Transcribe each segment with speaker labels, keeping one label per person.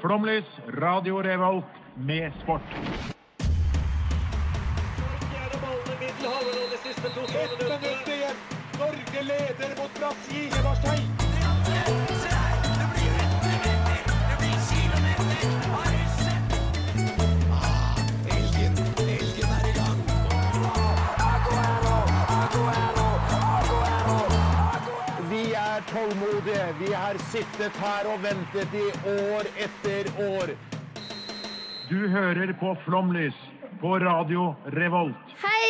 Speaker 1: Flomlys, Radio Revolt med sport.
Speaker 2: Ett minutt igjen. Norge leder mot Brasil. Eberstein.
Speaker 3: Vi er tålmodige. Vi har sittet her og ventet i år etter år.
Speaker 1: Du hører på Flomlys på Radio Revolt.
Speaker 4: Hei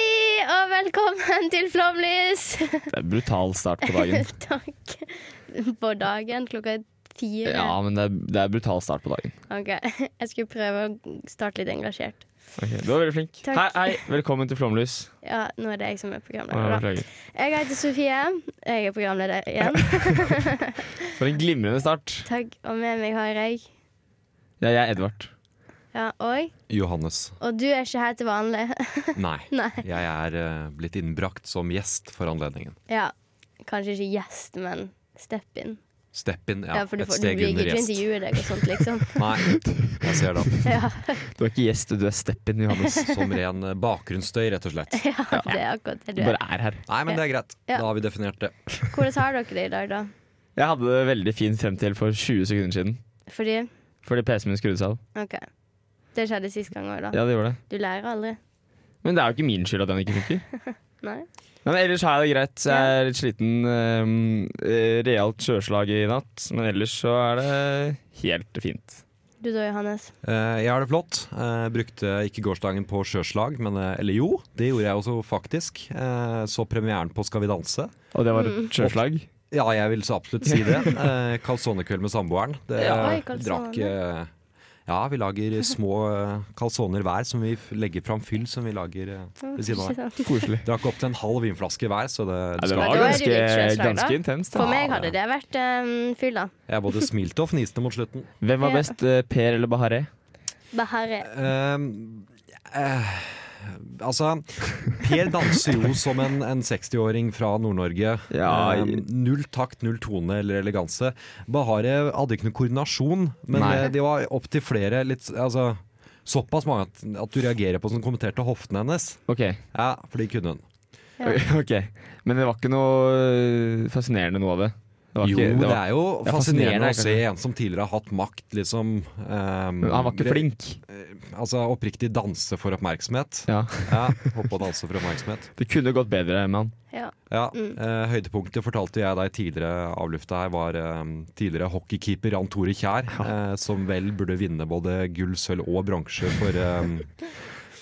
Speaker 4: og velkommen til Flomlys.
Speaker 5: Det er en brutal start på dagen.
Speaker 4: Takk. På dagen klokka er fire.
Speaker 5: Ja, men det er, det er en brutal start på dagen.
Speaker 4: Ok, Jeg skulle prøve å starte litt engasjert.
Speaker 5: Ok, Du var veldig flink.
Speaker 4: Takk.
Speaker 5: Hei, hei, velkommen til Flomlys.
Speaker 4: Ja, Nå er det jeg som er
Speaker 5: Å, jeg
Speaker 4: programleder. da.
Speaker 5: beklager.
Speaker 4: Jeg heter Sofie. Jeg er programleder igjen.
Speaker 5: For en glimrende start.
Speaker 4: Takk. Og med meg har jeg
Speaker 5: Ja, jeg er Edvard.
Speaker 4: ja, og,
Speaker 6: Johannes.
Speaker 4: og du er ikke her til vanlig.
Speaker 6: Nei.
Speaker 4: Nei.
Speaker 6: Jeg er eh, blitt innbrakt som gjest for anledningen.
Speaker 4: Ja, Kanskje ikke gjest, men step in.
Speaker 6: Step in, ja.
Speaker 4: for du,
Speaker 6: et
Speaker 4: får, du
Speaker 6: steg
Speaker 4: blir
Speaker 6: under
Speaker 4: ikke
Speaker 6: gjest.
Speaker 4: intervjue deg og sånt, liksom.
Speaker 6: Nei, jeg ser det.
Speaker 4: Ja,
Speaker 5: Du er ikke gjest, du er steppen, Johannes.
Speaker 6: Som ren eh, bakgrunnsstøy, rett og slett.
Speaker 4: ja, det er akkurat det
Speaker 5: Du
Speaker 4: du
Speaker 5: bare
Speaker 4: er.
Speaker 5: er her.
Speaker 6: Nei, men det er greit.
Speaker 4: Ja.
Speaker 6: Da har vi definert det.
Speaker 4: Hvordan har dere det i dag, da?
Speaker 5: Jeg hadde det veldig fint frem til for 20 sekunder siden.
Speaker 4: Fordi
Speaker 5: Fordi PC-en min skrudde seg av.
Speaker 4: OK. Det skjedde sist gang òg, da.
Speaker 5: Ja, det gjorde det.
Speaker 4: Du lærer aldri.
Speaker 5: Men det er jo ikke min skyld at den ikke funker.
Speaker 4: Nei.
Speaker 5: Men ellers har jeg det greit. Jeg er litt sliten. eh, realt sjøslag i natt. Men ellers så er det helt fint.
Speaker 4: Du da, Johannes.
Speaker 6: Eh, Jeg har det flott. Eh, brukte ikke gårsdagen på sjøslag, men eh, Eller jo, det gjorde jeg også faktisk. Eh, Så premieren på Skal vi danse.
Speaker 5: Og det var
Speaker 4: Mm.
Speaker 5: et sjøslag?
Speaker 6: Ja, jeg vil så absolutt si det. Eh, Calzonekveld med samboeren. Det
Speaker 5: Ja.
Speaker 4: Oi, calzone.
Speaker 6: drakk eh, Ja, vi lager små eh, calzoner hver som vi f- legger fram fyll som vi lager eh, ved siden av.
Speaker 4: Ikke sant?
Speaker 5: Koselig.
Speaker 6: Drakk opp til en halv vinflaske hver, så det,
Speaker 5: Ja, det
Speaker 4: Men
Speaker 5: var
Speaker 4: da er det
Speaker 5: ganske,
Speaker 4: litt sjøslag, da.
Speaker 5: ganske intenst. da.
Speaker 4: For meg hadde det vært um, fyll, da.
Speaker 6: Jeg både smilte og fniste mot slutten.
Speaker 5: Hvem var
Speaker 4: Ja.
Speaker 5: best, eh, Per eller Bahareh?
Speaker 4: Bahareh.
Speaker 6: Ehm, eh, altså, Per danser jo som en, en 60-åring fra Nord-Norge.
Speaker 5: Ja,
Speaker 6: Ehm, null takt, null tone eller eleganse. Bahareh hadde ikke noe koordinasjon, men
Speaker 5: Nei.
Speaker 6: eh, det var opptil flere litt altså, Såpass mange at, at du reagerer på som kommenterte hoftene hennes.
Speaker 5: Ok,
Speaker 6: Ja, for de kunne hun.
Speaker 5: ok. Men det var ikke noe øh, fascinerende noe av det. det var
Speaker 6: Jo,
Speaker 5: ikke,
Speaker 6: det
Speaker 5: var,
Speaker 6: er jo
Speaker 5: det er
Speaker 6: fascinerende
Speaker 5: fascinerende,
Speaker 6: å se en som tidligere har hatt makt, liksom ehm,
Speaker 5: Men han var ikke
Speaker 6: re-
Speaker 5: flink.
Speaker 6: Altså oppriktig danse for oppmerksomhet.
Speaker 5: Ja.
Speaker 6: Ja, hoppe og danse for oppmerksomhet.
Speaker 5: Det kunne gått bedre med han.
Speaker 4: Ja.
Speaker 6: Ja, eh, Høydepunktet fortalte jeg deg tidligere avlufta her, var eh, tidligere hockeykeeper Jan Tore Kjær, eh, som vel burde vinne både gull, sølv og bronse for eh,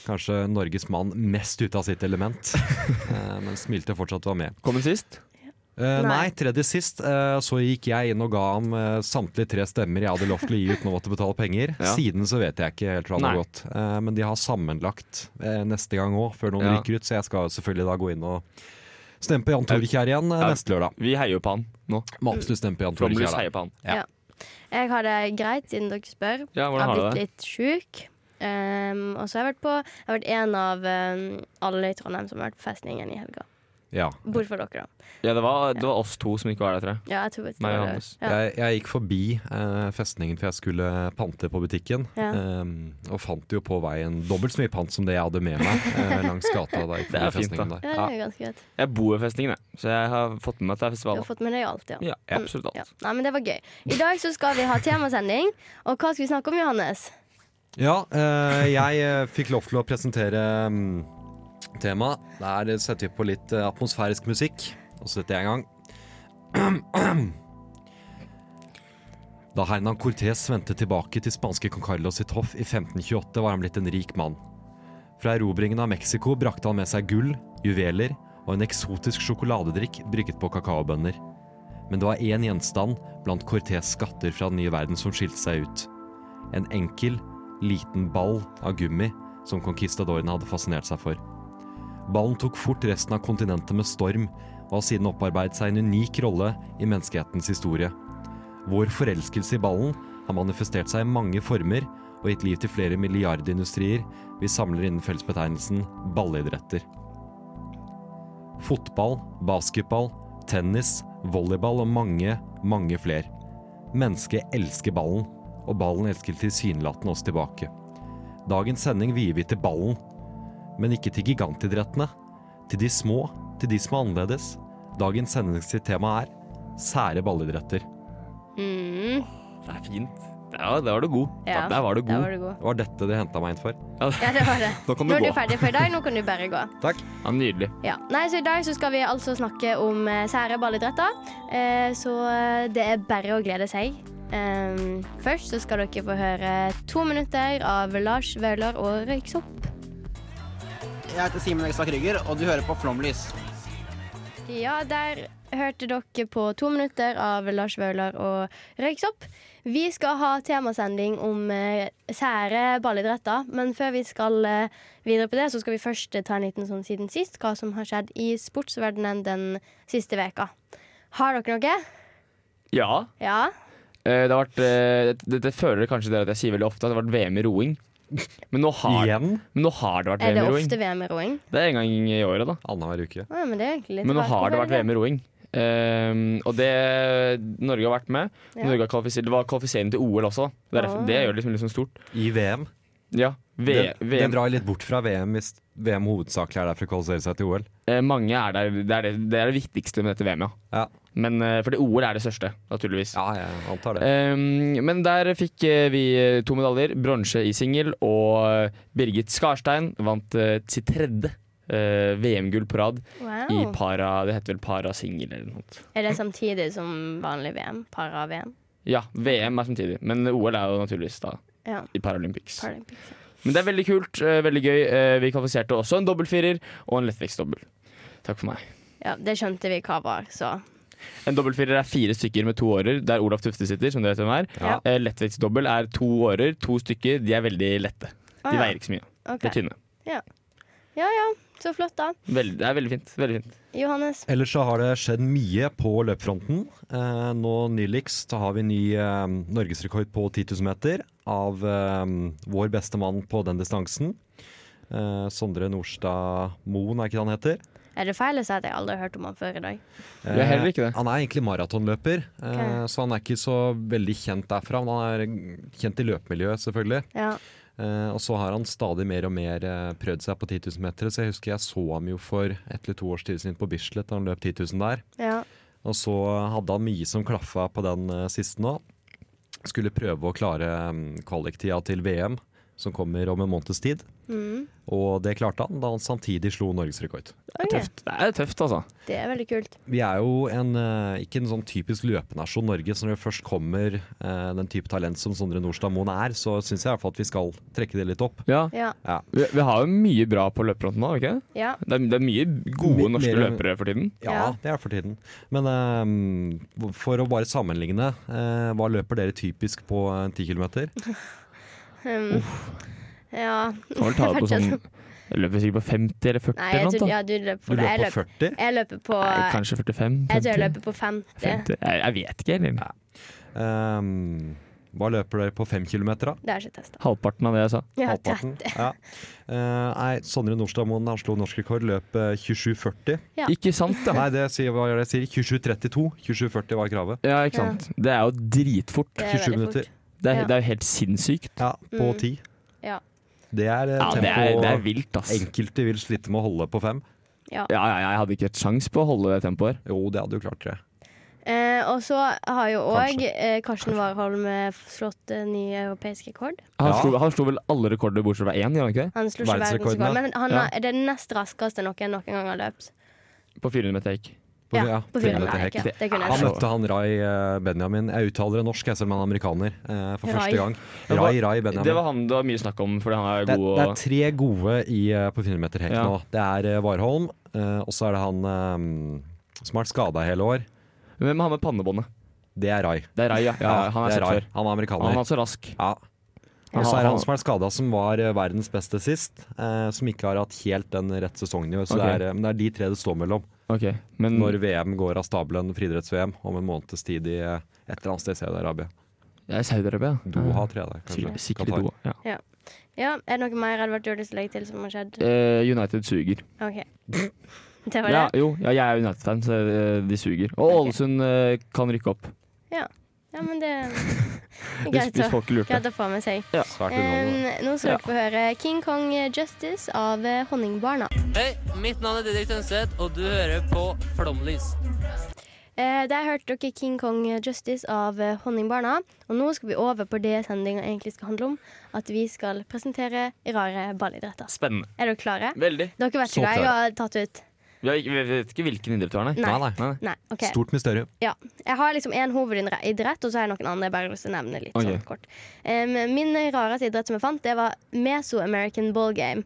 Speaker 6: kanskje Norges mann mest ute av sitt element. Eh, men smilte fortsatt og var med.
Speaker 5: Kom han sist?
Speaker 6: Eh,
Speaker 4: Nei.
Speaker 6: nei, tredje sist. eh, så gikk jeg inn og ga ham eh, samtlige tre stemmer jeg hadde lov til å gi uten å måtte betale penger.
Speaker 5: Ja.
Speaker 6: Siden så vet jeg ikke helt hva det har
Speaker 5: Nei.
Speaker 6: gått. Eh, men de har sammenlagt eh, neste gang òg, før noen
Speaker 5: Ja.
Speaker 6: ryker ut. Så jeg skal selvfølgelig da gå inn og stemme på Jan Tore Kjær igjen eh,
Speaker 5: Ja.
Speaker 6: neste lørdag.
Speaker 5: Vi heier jo på han nå.
Speaker 6: Må absolutt stemme på Jan Tore
Speaker 5: Flomlys
Speaker 6: Kjær. da.
Speaker 5: heier på han.
Speaker 4: Jeg har det greit, siden dere spør.
Speaker 5: Ja,
Speaker 4: Jeg
Speaker 5: hvordan
Speaker 4: har
Speaker 5: har
Speaker 4: blitt
Speaker 5: du det?
Speaker 4: litt sjuk. Um, og så har jeg vært på Jeg har vært en av um, alle i Trondheim som har vært på festningen i helga.
Speaker 6: Ja.
Speaker 4: Bort fra dere, da.
Speaker 5: Ja, det var, det var oss to som ikke var der, tror jeg.
Speaker 4: Ja, jeg tror det
Speaker 5: Meg og
Speaker 4: var det.
Speaker 5: Johannes.
Speaker 4: Ja.
Speaker 6: Jeg, jeg gikk forbi eh, festningen for jeg skulle pante på butikken.
Speaker 4: Ja.
Speaker 6: eh, og fant jo på veien dobbelt så mye pant som det jeg hadde med meg eh, langs gata. da jeg gikk
Speaker 5: Det er
Speaker 6: forbi
Speaker 5: fint, da.
Speaker 6: festningen der.
Speaker 4: ja, det er ganske greit.
Speaker 5: Jeg bor ved festningen, jeg. Så jeg har fått med meg at det er
Speaker 4: Du
Speaker 5: festival.
Speaker 4: har fått med deg alt, ja.
Speaker 5: Ja, absolutt
Speaker 4: ja.
Speaker 5: alt.
Speaker 4: Nei, men det var gøy. I dag så skal vi ha temasending. Og hva skal vi snakke om, Johannes?
Speaker 6: Ja, eh, jeg eh, fikk lov til å presentere mm, temaet. Der setter vi på litt eh, atmosfærisk musikk. Og så setter jeg i gang. Da Hernan Cortés vendte tilbake til spanske kong Carlos sitt hoff i 1528, var han blitt en rik mann. Fra erobringen av Mexico brakte han med seg gull, juveler og en eksotisk sjokoladedrikk brygget på kakaobønner. Men det var én gjenstand blant Cortés skatter fra den nye verden som skilte seg ut. En enkel, liten ball av gummi som conquistadorene hadde fascinert seg for. Ballen tok fort resten av kontinentet med storm, og har siden opparbeidet seg en unik rolle i menneskehetens historie. Vår forelskelse i ballen har manifestert seg i mange former og gitt liv til flere milliardindustrier vi samler innen fellesbetegnelsen ballidretter. Fotball, basketball, tennis, volleyball og mange, mange fler. Mennesket elsker ballen, og ballen elsket tilsynelatende oss tilbake. Dagens sending vier vi til ballen, men ikke til gigantidrettene. Til de små, til de som er annerledes. Dagens sendingstema er sære ballidretter.
Speaker 4: Mm,
Speaker 5: Det er fint. Ja, der var du god.
Speaker 4: ja.
Speaker 5: Der var du
Speaker 4: Der
Speaker 5: god.
Speaker 4: var du god.
Speaker 6: Det var dette de henta meg inn for.
Speaker 4: Ja, det var det.
Speaker 5: Nå kan du
Speaker 4: Nå er
Speaker 5: gå.
Speaker 4: du ferdig for i dag. Nå kan du bare gå.
Speaker 6: Takk.
Speaker 5: Ja, nydelig.
Speaker 4: Ja. Nei, så I dag så skal vi altså snakke om eh, sære ballidretter. Eh, så eh, det er bare å glede seg. Ehm, først så skal dere få høre to minutter av Lars Vaular og Røyksopp.
Speaker 7: Jeg heter Simen Ekstad Krüger, og du hører på Flomlys.
Speaker 4: Ja, der hørte dere på to minutter av Lars Vaular og Røyksopp. Vi skal ha temasending om eh, sære ballidretter, men før vi skal eh, videre på det, så skal vi først eh, ta en liten sånn siden sist, hva som har skjedd i sportsverdenen den siste veka. Har dere noe?
Speaker 5: Ja.
Speaker 4: Ja?
Speaker 5: Eh, Det har vært, eh, det- Dette føler kanskje dere at jeg sier veldig ofte, at det har vært VM i roing. Men nå har,
Speaker 6: Igjen
Speaker 5: men nå har det vært
Speaker 4: Er
Speaker 5: VM
Speaker 4: det
Speaker 5: i roing.
Speaker 4: ofte VM i roing?
Speaker 5: Det er en gang i året, da.
Speaker 6: annenhver uke.
Speaker 4: Å, ja, men det er egentlig litt
Speaker 5: Men nå
Speaker 4: rart.
Speaker 5: har det
Speaker 4: Hvorfor
Speaker 5: vært VM i roing. Eh, og det Norge har vært med.
Speaker 4: Ja.
Speaker 5: Norge har kvalifisert, det var kvalifisering til OL også. Det, er,
Speaker 4: Ah.
Speaker 5: det gjør det liksom, liksom stort.
Speaker 6: I VM.
Speaker 5: Ja. V,
Speaker 6: Den,
Speaker 5: VM.
Speaker 6: den drar litt bort fra VM hvis VM hovedsakelig er der for å kvalifisere seg til OL.
Speaker 5: Eh, mange er der. Det er det, det er det viktigste med dette VM, ja.
Speaker 6: Ja.
Speaker 5: Men, eh, fordi OL er det største, naturligvis.
Speaker 6: Ja, jeg antar det.
Speaker 5: Ehm, men der fikk eh, vi eh, to medaljer. Bronse i singel, og eh, Birgit Skarstein vant eh, sitt tredje eh, VM-gull på rad i
Speaker 4: Wow.
Speaker 5: para Det heter vel para singel eller noe sånt.
Speaker 4: Er det samtidig som vanlig VM? Para-VM?
Speaker 5: Ja, VM er samtidig, men OL er jo naturligvis da
Speaker 4: Ja.
Speaker 5: i Paralympics.
Speaker 4: Paralympics.
Speaker 5: Men det er veldig kult, eh, veldig gøy. Eh, vi kvalifiserte også en dobbeltfirer og en lettvektsdobbel. Takk for meg.
Speaker 4: Ja, det skjønte vi hva var, så
Speaker 5: En dobbeltfirer er fire stykker med to årer, der Olaf Tufte sitter, som dere vet hvem er.
Speaker 4: Ja.
Speaker 5: Eh, Lettvektsdobbel er to årer, to stykker. De er veldig lette.
Speaker 4: Å,
Speaker 5: De
Speaker 4: ja.
Speaker 5: veier ikke så mye.
Speaker 4: ok.
Speaker 5: De er tynne.
Speaker 4: Ja ja, så flott, da.
Speaker 5: Veldig, det er veldig fint. Veldig fint.
Speaker 4: Johannes.
Speaker 6: Ellers så har det skjedd mye på løpfronten. Eh, nå nyligst så har vi ny eh, norgesrekord på 10 000 meter av eh, vår beste mann på den distansen. Eh, Sondre Nordstad Moen, er ikke det han heter?
Speaker 4: Er det feil å si at jeg aldri har hørt om han før i dag?
Speaker 5: Du er heller ikke det.
Speaker 6: Eh, Han er egentlig maratonløper, eh,
Speaker 4: Ok.
Speaker 6: så han er ikke så veldig kjent derfra. Men han er kjent i løpemiljøet, selvfølgelig.
Speaker 4: Ja.
Speaker 6: Eh, og så har han stadig mer og mer eh, prøvd seg på 10 000 meter. Så jeg husker jeg så ham jo for ett eller to års tid siden på Bislett da han løp 10 000 der.
Speaker 4: ja.
Speaker 6: Og så hadde han mye som klaffa på den eh, siste nå. Skulle prøve å klare mm, kvaliktida til VM, som kommer om en måneds tid.
Speaker 4: Mm.
Speaker 6: Og det klarte han, da han samtidig slo norgesrekord.
Speaker 5: Det er
Speaker 4: Ok,
Speaker 5: tøft, det er tøft altså.
Speaker 4: Det er veldig kult.
Speaker 6: Vi er jo en, eh, ikke en sånn typisk løpenasjon Norge, så når det først kommer eh, den type talent som Sondre Nordstad Moen er, så syns jeg i hvert fall at vi skal trekke det litt opp.
Speaker 5: Ja.
Speaker 4: Ja.
Speaker 5: Vi, vi har jo mye bra på løperfronten nå, har vi ikke? det?
Speaker 4: ja.
Speaker 5: Det er, det er mye gode
Speaker 6: Mer-
Speaker 5: norske
Speaker 6: mer-
Speaker 5: løpere for tiden.
Speaker 6: Ja,
Speaker 4: Ja.
Speaker 6: det er for tiden. Men eh, for å bare sammenligne, eh, hva løper dere typisk på eh, 10 kilometer?
Speaker 4: Um, ja.
Speaker 5: Kan vel ta det på sånn Jeg løper sikkert på 50 eller 40
Speaker 4: Nei,
Speaker 5: eller
Speaker 4: jeg
Speaker 5: noe.
Speaker 4: tror,
Speaker 5: sånt,
Speaker 4: ja, du løper
Speaker 6: Du
Speaker 4: for det. Jeg
Speaker 6: løper på
Speaker 4: løper,
Speaker 6: 40?
Speaker 4: jeg løper på
Speaker 5: da. Nei, kanskje 45? 50?
Speaker 4: Jeg tror jeg løper på 50.
Speaker 5: 50. Jeg, jeg vet ikke, eller?
Speaker 6: Ehm, hva løper dere på fem kilometer, da?
Speaker 4: Det har jeg ikke testa.
Speaker 5: Halvparten av det jeg sa.
Speaker 4: Ja,
Speaker 6: Halvparten?
Speaker 4: 30.
Speaker 6: Ja. Eh, nei, Sondre Nordstadmoen han slo norsk rekord, løp eh, 27,40.
Speaker 4: Ja.
Speaker 5: Ikke sant, da?
Speaker 6: Nei, det sier, hva er det jeg sier? 27,32. 27,40 var kravet.
Speaker 5: Ja, ikke sant. Det er jo dritfort.
Speaker 4: Det er
Speaker 6: 27
Speaker 4: veldig
Speaker 6: minutter.
Speaker 4: fort.
Speaker 5: Det er,
Speaker 4: Ja.
Speaker 5: det er jo helt sinnssykt.
Speaker 6: Ja, på
Speaker 4: Mm.
Speaker 6: 10.
Speaker 4: Ja.
Speaker 6: Det er eh,
Speaker 5: Ja, det er,
Speaker 6: tempo
Speaker 5: det er vilt, ass. Ja,
Speaker 6: enkelte vil slite med å holde på fem.
Speaker 5: ja, ja, jeg hadde ikke et sjans på å holde det tempoet her.
Speaker 6: Jo, det hadde du klart, tror jeg.
Speaker 4: Eh, og så har jo òg
Speaker 6: Kanskje.
Speaker 4: eh, Karsten Warholm eh, slått eh, ny europeisk rekord.
Speaker 5: Han,
Speaker 6: Ja.
Speaker 5: slo, han slo vel alle rekorder bortsett fra én, gjorde han ikke det?
Speaker 4: Han slo ikke
Speaker 6: Verdensrekorden,
Speaker 4: verdensrekord,
Speaker 6: da.
Speaker 4: men han
Speaker 5: Ja.
Speaker 4: har- er det nest raskeste noen noen gang har løpt.
Speaker 5: På 400 meter hekk.
Speaker 6: På-
Speaker 4: ja, på
Speaker 6: fem
Speaker 4: 400
Speaker 6: minutter
Speaker 4: meter
Speaker 6: hekk.
Speaker 4: hekk. Det kunne
Speaker 6: Han
Speaker 4: jeg.
Speaker 5: men-
Speaker 6: møtte han Rai eh, Benjamin. Jeg uttaler det norsk, jeg, selv om han er amerikaner. eh, for
Speaker 4: Rai.
Speaker 6: første gang.
Speaker 5: Men
Speaker 6: Rai,
Speaker 5: hva-
Speaker 6: Rai
Speaker 5: Det
Speaker 6: Benjamin.
Speaker 5: var han det var mye snakk om, fordi han er
Speaker 6: Det,
Speaker 5: god
Speaker 6: det er
Speaker 5: og
Speaker 6: tre gode i, eh, på 400 meter hekk
Speaker 5: Ja.
Speaker 6: nå. Det er eh, Warholm, eh, og så er det han eh, som har vært skada i hele år.
Speaker 5: Hvem har med pannebåndet?
Speaker 6: Det er Rai.
Speaker 5: Det er Rai, ja. ja han
Speaker 6: det
Speaker 5: er sett
Speaker 6: er Rai.
Speaker 5: før.
Speaker 6: Han er
Speaker 5: Han
Speaker 6: amerikaner.
Speaker 5: er så rask.
Speaker 6: Ja.
Speaker 5: Ja.
Speaker 6: Og så er det
Speaker 5: Han-
Speaker 6: han som er skada, som var eh, verdens beste sist. eh, som ikke har hatt helt den rette sesongen i år. Så
Speaker 5: Ok. Mm.
Speaker 6: det, er, eh, men det er de tre det står mellom.
Speaker 5: Ok, men
Speaker 6: Når VM går av stabelen, friidretts-VM, om en måneds tid i eh, et eller annet sted i Saudi-Arabia.
Speaker 5: Jeg er Saudi-Arabia. ja.
Speaker 6: Doha, tror jeg det er. kanskje.
Speaker 5: Mm. Sikkert- Sikkert i
Speaker 6: Qatar.
Speaker 5: Doha. Ja.
Speaker 4: Ja, er det noe mer Edvard du har lyst til å legge til som har skjedd?
Speaker 5: Eh, United suger.
Speaker 4: OK. Det var det?
Speaker 5: Ja, jo, ja, jeg er United-fan, så eh, de suger. Og
Speaker 4: Ok.
Speaker 5: Ålesund eh, kan rykke opp.
Speaker 4: Ja, men det er
Speaker 5: Hvis,
Speaker 4: greit
Speaker 5: hvis
Speaker 4: å,
Speaker 5: folk lurte.
Speaker 4: greit å få med seg.
Speaker 5: Ja, svært underholdende.
Speaker 4: Eh, nå skal dere få høre King Kong Justice av eh, Honningbarna.
Speaker 8: Hei, mitt navn er Didrik Tønseth, og du hører på Flomlys.
Speaker 4: Eh, der hørte dere King Kong Justice av eh, Honningbarna. Og nå skal vi over på det sendinga egentlig skal handle om. At vi skal presentere rare ballidretter.
Speaker 5: Spennende.
Speaker 4: Er dere klare?
Speaker 5: Veldig.
Speaker 4: Dere vet
Speaker 6: Så
Speaker 4: ikke hva jeg
Speaker 6: klare.
Speaker 4: har tatt ut?
Speaker 5: Vi, har ikke, vi vet ikke hvilken idrett du har, nei.
Speaker 4: Nei.
Speaker 6: Nei, nei.
Speaker 4: Nei. ok.
Speaker 6: Stort mysterium.
Speaker 4: Ja. Jeg har liksom én hovedidrett, og så har jeg noen andre jeg bare har lyst til å nevne litt
Speaker 5: Ok.
Speaker 4: sånn kort. Em, min rareste idrett som jeg fant, det var Meso-American Ball Game.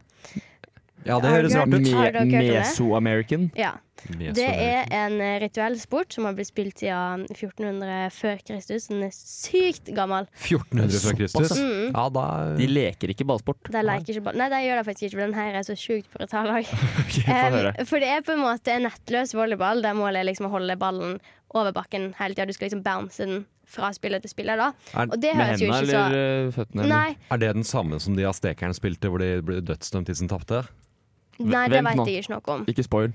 Speaker 6: Ja, det
Speaker 4: Har
Speaker 6: høres
Speaker 4: du
Speaker 6: rart ut.
Speaker 4: hørt- Har dere hørt om det?
Speaker 5: Meso-American.
Speaker 4: Ja.
Speaker 6: Yes,
Speaker 4: Det er
Speaker 6: American.
Speaker 4: en eh, rituell sport som har blitt spilt siden 1400 før Kristus. Den er sykt gammel.
Speaker 6: 1400 før Kristus.
Speaker 4: Mm.
Speaker 6: Ja, da
Speaker 5: De leker ikke ballsport.
Speaker 4: De leker ikke ball. Nei, de gjør det faktisk ikke, for den her er så sjukt brutal. også.
Speaker 5: Ok, få
Speaker 4: Em,
Speaker 5: høre.
Speaker 4: for det er på en måte en nettløs volleyball der målet er liksom å holde ballen over bakken hele tida. Du skal liksom bounce den fra spiller til spiller, da.
Speaker 6: Er-
Speaker 4: Og det
Speaker 5: Med
Speaker 4: høres jo
Speaker 5: hendene
Speaker 4: ikke så
Speaker 5: eller eh, føttene? eller?
Speaker 4: Nei,
Speaker 6: Er det den samme som de aztekerne spilte, hvor de ble dødsdømt de som tapte?
Speaker 4: nei, det
Speaker 5: Vent
Speaker 4: veit
Speaker 5: nå.
Speaker 4: jeg ikke noe om.
Speaker 5: Ikke spoil.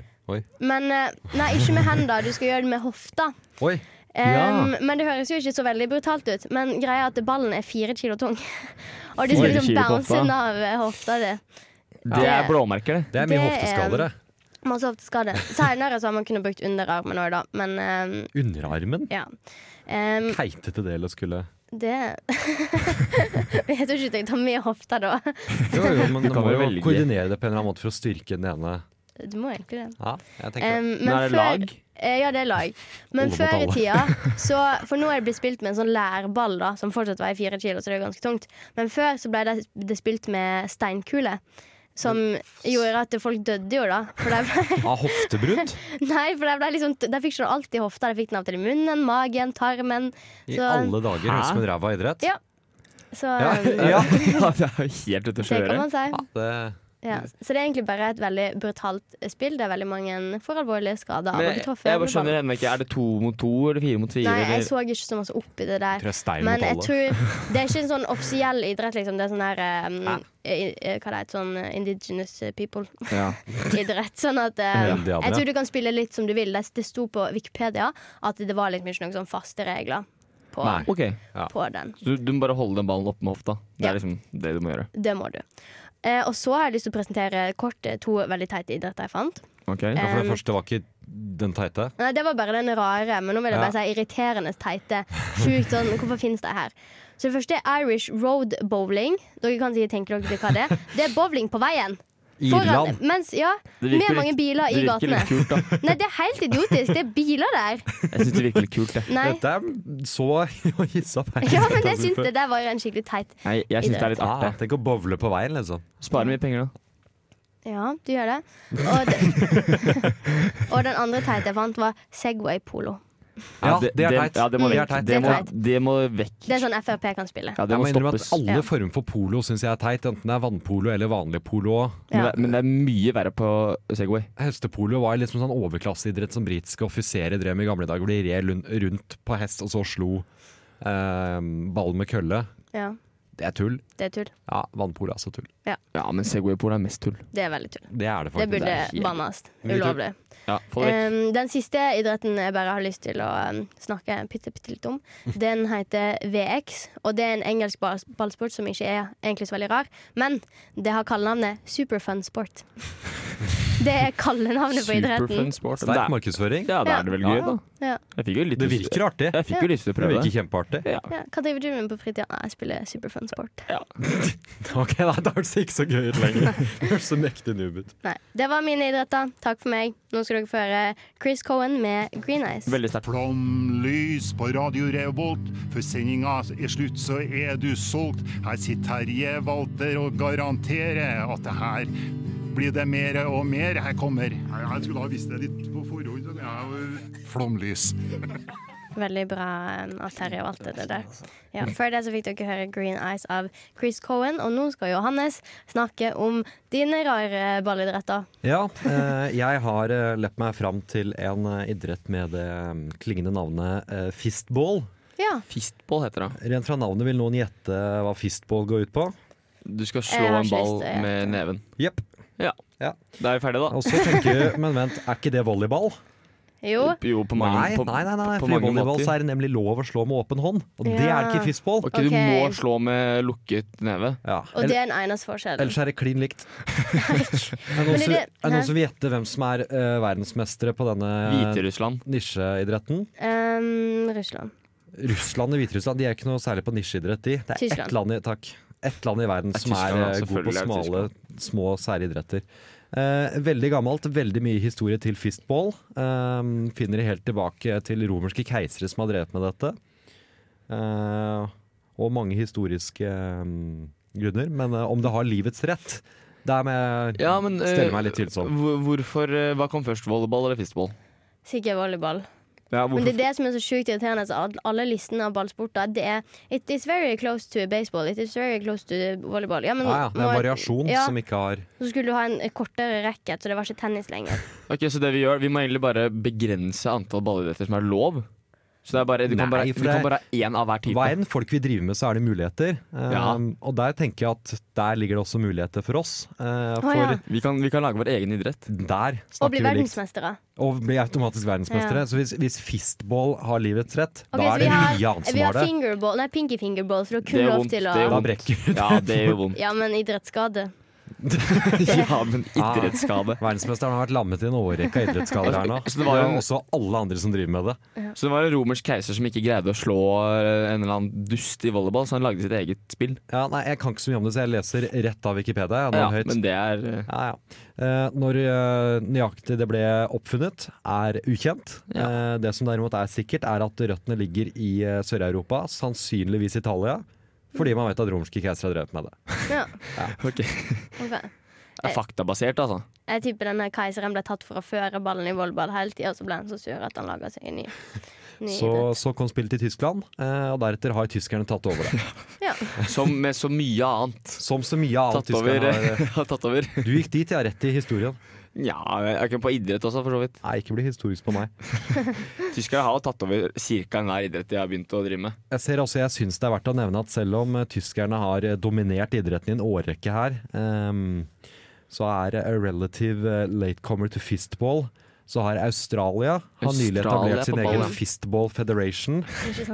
Speaker 4: Men eh, Nei, ikke med hender. Du skal gjøre det med hofta.
Speaker 6: Oi!
Speaker 4: Em, Men det høres jo ikke så veldig brutalt ut. Men greia er at ballen er fire kilo tung. Og du skal
Speaker 5: Fire
Speaker 4: liksom
Speaker 5: kilo på
Speaker 4: bounce
Speaker 5: hofta.
Speaker 4: den av eh, hofta di.
Speaker 5: Det
Speaker 4: Ja.
Speaker 5: er blåmerker, det.
Speaker 6: Det er mye
Speaker 4: Det er-
Speaker 6: hofteskadere.
Speaker 4: Masse hofteskade. Seinere så har man kunnet brukt underarmen òg, da. Men em,
Speaker 6: Underarmen?
Speaker 4: ja. Em,
Speaker 6: Keitete del å skulle
Speaker 4: det Jeg tror ikke jeg tar med hofta da.
Speaker 6: Jo, jo, men
Speaker 5: Du
Speaker 6: du
Speaker 5: kan
Speaker 6: må
Speaker 5: jo
Speaker 6: jo
Speaker 5: velge.
Speaker 6: koordinere det på en eller annen måte for å styrke den ene.
Speaker 4: Du må egentlig det.
Speaker 6: Ja, jeg tenker
Speaker 4: Em,
Speaker 5: Men er det
Speaker 4: før-
Speaker 5: lag?
Speaker 4: Eh, ja, det er lag. Men
Speaker 6: Alle mot
Speaker 4: før i
Speaker 6: alle.
Speaker 4: tida så, For nå er det blitt spilt med en sånn lærball, da, som fortsatt veier fire kilo, så det er jo ganske tungt. Men før så ble det, det spilt med steinkule. Som gjorde at folk døde jo, da. For de ble,
Speaker 6: Av hoftebrudd?
Speaker 4: nei, for de, ble liksom, de fikk ikke alltid hofta. De fikk den av til i munnen, magen, tarmen.
Speaker 6: I
Speaker 4: Så-
Speaker 6: alle dager, høres
Speaker 5: Hæ?
Speaker 6: ut som en ræva idrett.
Speaker 4: Ja. Så um,
Speaker 6: Ja, ja.
Speaker 5: Ja, det er jo helt ute å
Speaker 4: det kan
Speaker 5: kjøre.
Speaker 4: man si.
Speaker 6: Det,
Speaker 4: Ja. Så det er egentlig bare et veldig brutalt spill. Det er veldig mange får alvorlige skader av å
Speaker 5: Men
Speaker 4: bli
Speaker 5: jeg
Speaker 4: truffet.
Speaker 5: bare
Speaker 4: med ballen.
Speaker 5: skjønner ennå ikke. Er det to mot to eller fire mot fire?
Speaker 4: Nei, jeg
Speaker 5: eller?
Speaker 4: så ikke så masse opp i det der.
Speaker 6: tror jeg er stein
Speaker 4: Men
Speaker 6: mot
Speaker 4: jeg
Speaker 6: alle.
Speaker 4: tror Det er ikke en sånn offisiell idrett, liksom. Det er sånn her um, i- i- Hva det heter sånn eh, indigenous
Speaker 5: Ja.
Speaker 4: people-idrett. Sånn at eh,
Speaker 6: Indianere.
Speaker 4: Jeg tror du kan spille litt som du vil. Det, det sto på Wikipedia at det var liksom ikke noen sånn faste regler på,
Speaker 6: Nei.
Speaker 5: Ok,
Speaker 4: på den.
Speaker 5: så du, du må bare holde den ballen opp med hofta. Det
Speaker 4: Ja.
Speaker 5: er liksom det du må gjøre.
Speaker 4: Det må du. Eh, og så har jeg lyst til å presentere kort eh, to veldig teite idretter jeg fant.
Speaker 5: Ok,
Speaker 6: Ja, for
Speaker 4: em,
Speaker 6: det første var ikke den teite.
Speaker 4: Nei, Det var bare den rare, men nå vil jeg bare
Speaker 6: Ja.
Speaker 4: si irriterende teite. Sjukt sånn, Hvorfor finnes det her? Så det første er Irish Road Bowling. Dere kan sikkert tenke dere hva det er. Det er bowling på veien. Foran,
Speaker 6: Irland.
Speaker 4: mens, ja,
Speaker 5: Det
Speaker 4: med
Speaker 5: virker
Speaker 4: mange
Speaker 5: litt-
Speaker 4: biler
Speaker 5: Det
Speaker 4: i
Speaker 5: virker
Speaker 4: gatene.
Speaker 5: litt kult, da.
Speaker 4: Nei, det er helt idiotisk. Det er biler der.
Speaker 5: Jeg syns det virker litt kult, jeg.
Speaker 4: Nei.
Speaker 6: Dette er så hissa peis.
Speaker 4: Ja, men jeg syns det der var jo en skikkelig teit.
Speaker 5: Nei, jeg syns det er litt
Speaker 6: Ah,
Speaker 5: artig.
Speaker 6: tenk å bowle på veien, liksom.
Speaker 5: Spare mye penger, da.
Speaker 4: Ja, du gjør det. Og, det. og den andre teite jeg fant, var Segway Polo.
Speaker 6: Ja, det er teit.
Speaker 5: Ja, det må
Speaker 4: Det er
Speaker 5: vekk.
Speaker 6: teit.
Speaker 5: Det må,
Speaker 4: Det
Speaker 5: det må vekk.
Speaker 4: Det er sånn Frp kan spille.
Speaker 5: Ja, det må
Speaker 6: Jeg må innrømme
Speaker 5: stoppes.
Speaker 6: at alle
Speaker 4: Ja.
Speaker 6: former for polo syns jeg er teit, enten det er vannpolo eller vanlig polo. også.
Speaker 5: Men det,
Speaker 4: Ja.
Speaker 5: er- men det er mye verre på Segway.
Speaker 6: Hestepolo var liksom sånn overklasseidrett som britiske offiserer drev med i gamle dager, hvor de red lun- rundt på hest og så slo eh, ballen med kølle.
Speaker 4: Ja,
Speaker 6: Det er tull.
Speaker 4: det er tull.
Speaker 6: Ja, vannpolo er så tull.
Speaker 5: Ja, men Segway-polo er mest tull.
Speaker 4: Det er veldig tull.
Speaker 6: Det er det
Speaker 4: Det
Speaker 6: faktisk.
Speaker 4: burde
Speaker 5: helt-
Speaker 4: bannes.
Speaker 5: Mye tull.
Speaker 4: Ulovlig.
Speaker 5: Ja, få det vekk.
Speaker 4: Um, den siste idretten jeg bare har lyst til å um, snakke bitte, bitte litt om, den heter VX. Og det er en engelsk ball- ballsport som ikke er egentlig så veldig rar, men det har kallenavnet superfun sport. det er kallenavnet på idretten.
Speaker 5: Superfun sport. Men
Speaker 6: Sterk
Speaker 5: det er-
Speaker 6: markedsføring.
Speaker 5: Ja, da er det vel gøy,
Speaker 4: Ja.
Speaker 5: da.
Speaker 4: Ja.
Speaker 5: Jeg fikk jo litt
Speaker 6: Det virker artig.
Speaker 5: Jeg fikk jo lyst til å
Speaker 6: Det
Speaker 5: prøve
Speaker 6: virker
Speaker 5: det.
Speaker 6: kjempeartig.
Speaker 5: Ja.
Speaker 4: Ja, hva driver du med på fritida? Nei, Jeg spiller superfun sport.
Speaker 6: Ok, nei, Da hørtes det ikke så gøy ut lenger. Det hørtes så mektig noob ut.
Speaker 4: Nei, Det var mine idretter. Takk for meg. Nå skal dere få høre Chris Cohen med Green Eyes.
Speaker 5: Veldig sterkt.
Speaker 9: Flomlys på Radio Revolt, for sendinga er slutt, så er du solgt. Her sitter Terje Walter og garanterer at det her blir det mer og mer. Her kommer Jeg skulle ha visst det litt på forhånd. Flomlys.
Speaker 4: Veldig bra um, av Terje og alt det
Speaker 6: sånn,
Speaker 4: der.
Speaker 6: altså.
Speaker 4: Ja, før det så fikk dere høre Green Eyes av Chris Cohen, og nå skal Johannes snakke om dine rare ballidretter.
Speaker 6: Ja, eh, jeg har eh, lett meg fram til en eh, idrett med det eh, klingende navnet eh, fistball.
Speaker 4: Ja,
Speaker 5: Fistball heter det.
Speaker 6: Rent fra navnet vil noen gjette hva fistball går ut på.
Speaker 5: Du skal
Speaker 4: Jeg
Speaker 5: slå
Speaker 4: har
Speaker 5: en
Speaker 4: ikke
Speaker 5: ball
Speaker 4: lyst til å gjøre
Speaker 5: med neven.
Speaker 6: Jepp.
Speaker 5: Ja.
Speaker 6: Ja.
Speaker 5: Da er vi ferdige, da.
Speaker 6: Og så tenker jeg, men vent, er ikke det volleyball?
Speaker 4: Jo.
Speaker 5: Jo, på mange,
Speaker 6: Nei, nei,
Speaker 5: på,
Speaker 6: nei, nei.
Speaker 5: på
Speaker 6: fordi
Speaker 5: mange
Speaker 6: volleyball så
Speaker 5: måter.
Speaker 6: er det nemlig lov å slå med åpen hånd, og det er det ikke
Speaker 4: Ja.
Speaker 6: i fistball.
Speaker 5: Ok,
Speaker 4: Ok.
Speaker 5: Du må slå med lukket neve.
Speaker 6: Ja.
Speaker 4: Og
Speaker 6: Eller-
Speaker 4: det er en eiendomsforskjell.
Speaker 6: Ellers er det klin likt. er det
Speaker 4: Men
Speaker 6: noen som-
Speaker 4: det-
Speaker 6: er det
Speaker 4: Hæ?
Speaker 6: noen som vil gjette hvem som er eh, verdensmestere på denne
Speaker 5: Hviterussland.
Speaker 6: nisjeidretten?
Speaker 4: Ehm, Russland.
Speaker 6: Russland og Hviterussland de er ikke noe særlig på nisjeidrett, de. Det er ett
Speaker 4: Tyskland.
Speaker 6: land i, takk, ett land i verden
Speaker 5: Det er
Speaker 6: som er
Speaker 5: Tyskland,
Speaker 6: eh,
Speaker 5: ja,
Speaker 6: god på
Speaker 5: selvfølgelig er det
Speaker 6: smale, små særidretter. Eh, veldig gammelt, veldig mye historie til fistball. Eh, finner de helt tilbake til romerske keisere som har drevet med dette. Eh, og mange historiske eh, grunner. Men eh, om det har livets rett, det er med
Speaker 5: Ja, men eh,
Speaker 6: Stiller meg litt tvilsom.
Speaker 5: hvor- Hvorfor, eh, hva kom først, volleyball eller fistball?
Speaker 4: Sikkert volleyball.
Speaker 5: Ja,
Speaker 4: Men
Speaker 5: hvorfor,
Speaker 4: det er det som er så sjukt irriterende. altså, at al- alle listene av ballsporter Det er It is very close to baseball. It is very close to volleyball. Ja, men
Speaker 6: Ah, Ja, ja, det er en
Speaker 4: når-
Speaker 6: variasjon
Speaker 4: ja,
Speaker 6: som ikke har
Speaker 4: Så skulle du ha en kortere racket, så det var ikke tennis lenger.
Speaker 5: Ok, så det Vi gjør, vi må egentlig bare begrense antall ballidretter som er lov. Så det er bare, du kan
Speaker 6: Nei,
Speaker 5: bare,
Speaker 6: for
Speaker 5: vi kan
Speaker 6: det-
Speaker 5: bare ha én av hver type.
Speaker 6: Hva enn folk vil drive med, så er det muligheter. Eh,
Speaker 5: Ja.
Speaker 6: Og der tenker jeg at der ligger det også muligheter for oss. eh, for
Speaker 4: ja.
Speaker 5: Vi kan, vi kan lage vår egen idrett.
Speaker 6: der
Speaker 4: Og bli
Speaker 6: snakker vi likt.
Speaker 4: verdensmestere.
Speaker 6: Og bli automatisk verdensmestere.
Speaker 4: Ja.
Speaker 6: Så hvis, hvis fistball har livets rett,
Speaker 4: Ok,
Speaker 6: da
Speaker 4: så vi
Speaker 6: er det
Speaker 4: har-
Speaker 6: mye annet
Speaker 4: Vi
Speaker 6: som
Speaker 4: har
Speaker 6: har det.
Speaker 4: fingerball, nei, pinky fingerball, for da
Speaker 5: Det
Speaker 4: kunne
Speaker 5: gjør
Speaker 4: du lov
Speaker 5: vondt,
Speaker 4: til
Speaker 5: det gjør
Speaker 6: Da
Speaker 4: å
Speaker 5: vondt.
Speaker 6: brekker du.
Speaker 5: Ja, det gjør vondt.
Speaker 4: Ja, men idrettsskade.
Speaker 5: Ja, men
Speaker 6: Ah.
Speaker 5: idrettsskade.
Speaker 6: Verdensmesteren har vært lammet i en årrekke av idrettsskader her nå.
Speaker 5: Så det var jo en-
Speaker 6: Og også alle andre som driver med det.
Speaker 5: Så det var en romersk keiser som ikke greide å slå eh, en eller annen dust i volleyball, så han lagde sitt eget spill.
Speaker 6: Ja, nei, jeg kan ikke så mye om det, så jeg leser rett av Wikipedia. Jeg, nå
Speaker 5: Ja,
Speaker 6: høyt.
Speaker 5: men det er eh,
Speaker 6: Ja, ja. Eh, når eh, nøyaktig det ble oppfunnet, er ukjent. Eh, det som derimot er sikkert, er at røttene ligger i eh, Sør-Europa, sannsynligvis Italia. Fordi man vet at romerske keisere har drevet med det.
Speaker 4: Ja,
Speaker 5: ok.
Speaker 4: ok.
Speaker 5: Det er faktabasert, altså.
Speaker 4: Jeg tipper denne keiseren ble tatt for å føre ballen i volleyball hele tida, og så ble han så sur at han laga seg en ny, ny
Speaker 6: Så,
Speaker 4: idrett.
Speaker 6: så kom spillet til Tyskland, eh, og deretter har tyskerne tatt over det.
Speaker 4: Ja.
Speaker 5: Som med så mye annet.
Speaker 6: Som så mye annet
Speaker 5: Tatt over.
Speaker 6: tyskerne har.
Speaker 5: har tatt over.
Speaker 6: Du gikk dit, ja. Rett i historien.
Speaker 5: Ja, jeg er ikke på idrett også, for så vidt.
Speaker 6: Nei, ikke bli historisk på meg.
Speaker 5: Tyskere har jo tatt over ca. enhver idrett de har begynt å drive med.
Speaker 6: Jeg ser også, jeg syns det er verdt å nevne at selv om eh, tyskerne har eh, dominert idretten i en årrekke her, ehm, så er eh, a relative eh, latecomer to fistball. Så har Australia, har nylig
Speaker 5: Australia er
Speaker 6: etablert sin
Speaker 5: på
Speaker 6: egen
Speaker 5: ballen.
Speaker 6: Fistball Federation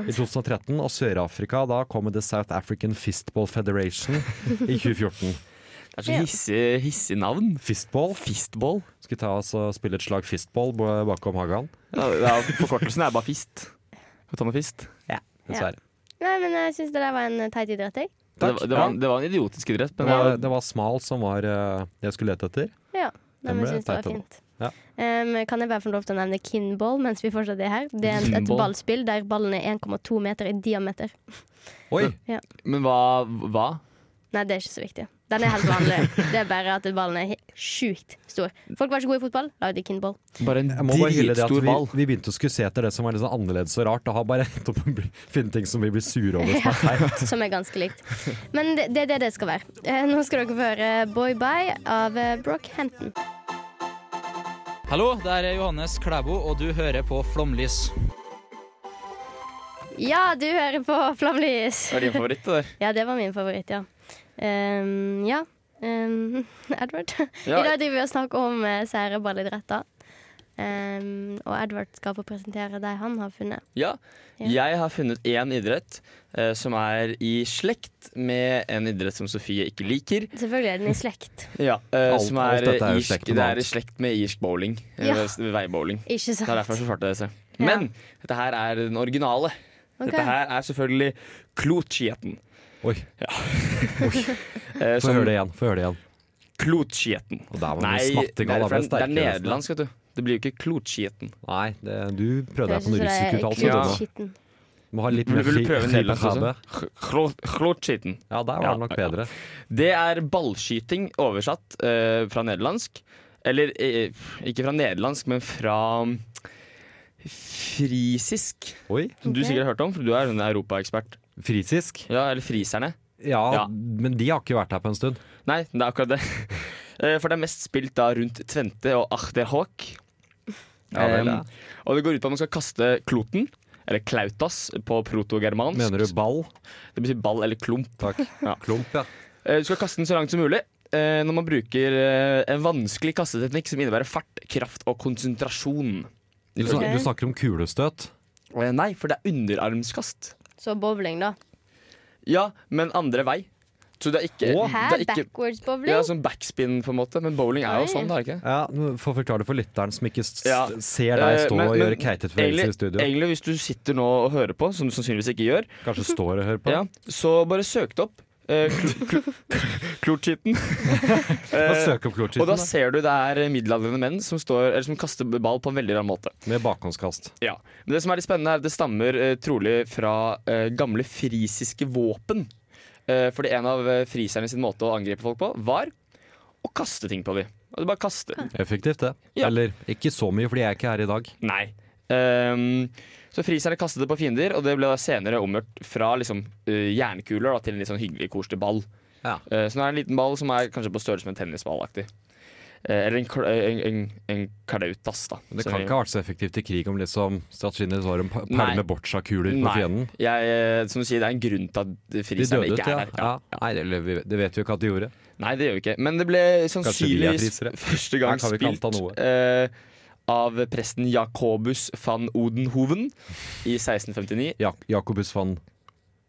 Speaker 6: i 2013. Og Sør-Afrika, da kommer The South African Fistball Federation i 2014.
Speaker 5: Det er så
Speaker 4: Ja.
Speaker 5: hissig hissig navn.
Speaker 6: Fistball.
Speaker 5: Fistball.
Speaker 6: Skal vi ta oss og spille et slag fistball bo- bakom Hagan?
Speaker 5: Ja, ja, forkortelsen er bare fist. Skal vi ta med fist?
Speaker 6: Dessverre.
Speaker 4: Nei, men jeg syns det der var en eh, teit idrett, jeg.
Speaker 5: Det,
Speaker 6: Takk.
Speaker 5: var- det, var, det var en idiotisk idrett,
Speaker 6: Det
Speaker 5: men
Speaker 6: var, det var smal som var eh, det jeg skulle lete etter.
Speaker 4: Ja. Nei,
Speaker 6: Den
Speaker 4: men
Speaker 6: ble
Speaker 4: jeg syns det var
Speaker 6: teit, den.
Speaker 4: fint.
Speaker 6: Ja.
Speaker 4: Em, kan jeg bare få lov til å nevne kinball mens vi fortsatt er her? Det er et, et
Speaker 5: Kinball.
Speaker 4: ballspill der ballen er 1,2 meter i diameter.
Speaker 6: Oi!
Speaker 5: men hva, hva?
Speaker 4: Nei, det er ikke så viktig. Den er helt vanlig. Det er bare at ballen er he- sjukt stor. Folk var ikke gode i fotball, lagde kinball.
Speaker 5: Bare en
Speaker 6: Jeg må bare hylle det at
Speaker 5: dritstor
Speaker 6: vi,
Speaker 5: ball.
Speaker 6: vi begynte å skulle se etter det som var litt sånn annerledes og rart. Og har bare endt opp med å bli- finne ting som vi blir sure over. Som er teit.
Speaker 4: Som er ganske likt. Men det det er det det skal være. Eh, Nå skal dere få høre Boy Bye av eh, Brockhampton.
Speaker 8: Hallo, det er Johannes Klæbo, og du hører på Flomlys.
Speaker 4: Ja, du hører på Flamlys.
Speaker 5: Det er din favoritt, det der.
Speaker 4: Ja, det var min favoritt, ja. Ehm, ja. Ehm, Edward.
Speaker 5: Ja.
Speaker 4: I dag driver vi og snakker om eh, sære ballidretter. Ehm, og Edward skal få presentere de han har funnet.
Speaker 5: Ja.
Speaker 4: Ja.
Speaker 5: Jeg har funnet én idrett eh, som er i slekt med en idrett som Sofie ikke liker.
Speaker 4: Selvfølgelig er den i slekt.
Speaker 5: Ja, eh,
Speaker 6: Alt-
Speaker 5: som
Speaker 6: alt
Speaker 5: er,
Speaker 6: dette er jo
Speaker 5: irsk,
Speaker 6: slekt
Speaker 5: det
Speaker 6: med noe
Speaker 5: er i
Speaker 6: annet.
Speaker 5: slekt med irsk bowling.
Speaker 4: Ja.
Speaker 5: Eller s- veibowling.
Speaker 4: Ikke
Speaker 5: Det er derfor
Speaker 4: sant?
Speaker 5: jeg svarte disse.
Speaker 4: Ja.
Speaker 5: Men dette her er den originale.
Speaker 4: Ok.
Speaker 5: Dette her er selvfølgelig klotskieten.
Speaker 6: Oi,
Speaker 5: Eh,
Speaker 6: Få høre det igjen. Få høre det igjen.
Speaker 5: klotskieten.
Speaker 6: Og der var
Speaker 5: Nei,
Speaker 6: det
Speaker 5: nei, for det
Speaker 6: smattegal.
Speaker 5: er, det er
Speaker 6: Nederland.
Speaker 5: nederlandsk, vet du. Det blir jo ikke klotskieten.
Speaker 6: Nei, det, du prøvde deg på
Speaker 4: Høres ut som
Speaker 6: noe
Speaker 4: det er
Speaker 6: russisk uttalelse.
Speaker 5: Ja.
Speaker 6: du, nå.
Speaker 4: klutskitten.
Speaker 6: Må ha litt
Speaker 5: Vil,
Speaker 6: mer
Speaker 5: vil
Speaker 6: fri-
Speaker 5: du prøve
Speaker 6: fri
Speaker 5: nederlandsk
Speaker 6: på
Speaker 5: også?
Speaker 6: kabet.
Speaker 5: Klo- Klotskieten.
Speaker 6: Ja, der var
Speaker 5: Ja,
Speaker 6: det nok
Speaker 5: ja.
Speaker 6: bedre.
Speaker 5: Det er ballskyting oversatt eh, fra nederlandsk. Eller eh, ikke fra nederlandsk, men fra mm, frisisk.
Speaker 6: Oi,
Speaker 5: Som du
Speaker 4: Ok.
Speaker 5: sikkert har hørt om, for du er en europaekspert.
Speaker 6: frisisk?
Speaker 5: Ja, eller friserne.
Speaker 6: Ja,
Speaker 5: Ja.
Speaker 6: men de har ikke vært her på en stund.
Speaker 5: Nei, det er akkurat det. Eh, For det er mest spilt da rundt Tvente og Achterhoek.
Speaker 6: Ja, vel, ja.
Speaker 5: og det går ut på at man skal kaste kloten, eller klautas på protogermansk.
Speaker 6: Mener du ball?
Speaker 5: Det betyr ball eller klump.
Speaker 6: Takk.
Speaker 5: Ja.
Speaker 6: Klump, ja.
Speaker 5: Eh, Du skal kaste den så langt som mulig. eh, Når man bruker eh, en vanskelig kasteteknikk som innebærer fart, kraft og konsentrasjon.
Speaker 6: Du, snak-
Speaker 4: Ok.
Speaker 6: du snakker om kulestøt.
Speaker 5: Eh, Nei, for det er underarmskast.
Speaker 4: Så bowling, da.
Speaker 5: Ja, men andre vei. Så det er ikke,
Speaker 4: Hæ?
Speaker 5: det er ikke
Speaker 4: Backwards bowling?
Speaker 5: ja, sånn backspin, på en måte. Men bowling er
Speaker 4: Oi.
Speaker 5: jo sånn, det er det ikke?
Speaker 6: Ja, Få forklare det for lytteren som ikke s
Speaker 5: Ja.
Speaker 6: ser deg
Speaker 5: Eh,
Speaker 6: stå
Speaker 5: men-
Speaker 6: og
Speaker 5: men
Speaker 6: gjøre keitete bevegelser i studio.
Speaker 5: Egentlig, hvis du sitter nå og hører på, som du sannsynligvis ikke gjør,
Speaker 6: Kanskje står og hører på.
Speaker 5: ja, så bare søk det opp. Eh, kl- kl- Klortskitten.
Speaker 6: Og
Speaker 5: Eh,
Speaker 6: søk opp
Speaker 5: og da
Speaker 6: klortskitten
Speaker 5: ser du det er middelaldrende menn som, står, eller som kaster ball på en veldig rar måte.
Speaker 6: da, med bakhåndskast.
Speaker 5: Ja. Men det som er litt spennende, er at det stammer eh, trolig fra eh, gamle frisiske våpen. Eh, fordi en av eh, friserne sin måte å angripe folk på, var å kaste ting på dem. Og det bare kaste.
Speaker 6: Effektivt, det.
Speaker 5: Ja.
Speaker 6: Eller ikke så mye, fordi jeg er ikke her i dag.
Speaker 5: Nei. Ehm, så friserne kastet det på fiender, og det ble da senere omgjort fra liksom, eh, jernkuler da, til en litt sånn hyggelig, koselig ball.
Speaker 6: Ja.
Speaker 5: Eh, så nå er det en liten ball som er kanskje på størrelse med en tennisballaktig. Eh, eller en, kl- en, en, en klautas, da.
Speaker 6: Men det
Speaker 5: som
Speaker 6: kan
Speaker 5: vi-
Speaker 6: ikke ha vært så effektivt i krig om liksom strategien deres var en pa-
Speaker 5: Nei.
Speaker 6: perle med boccia-kuler på
Speaker 5: Nei.
Speaker 6: fienden.
Speaker 5: Jeg, eh, som du sier, det er en grunn til at
Speaker 6: De
Speaker 5: friserne
Speaker 6: døde ut,
Speaker 5: ikke er
Speaker 6: ja.
Speaker 5: her.
Speaker 6: ja. Nei, eller vi- det vet vi jo ikke at de gjorde.
Speaker 5: Nei, det gjør vi ikke. Men det ble
Speaker 6: Kanskje vi er
Speaker 5: sannsynligvis
Speaker 6: frisere.
Speaker 5: første gang
Speaker 6: Her kan vi ikke
Speaker 5: spilt
Speaker 6: anta noe.
Speaker 5: eh, av presten Jacobus van Odenhoven i 1659.
Speaker 6: Ja, Jacobus van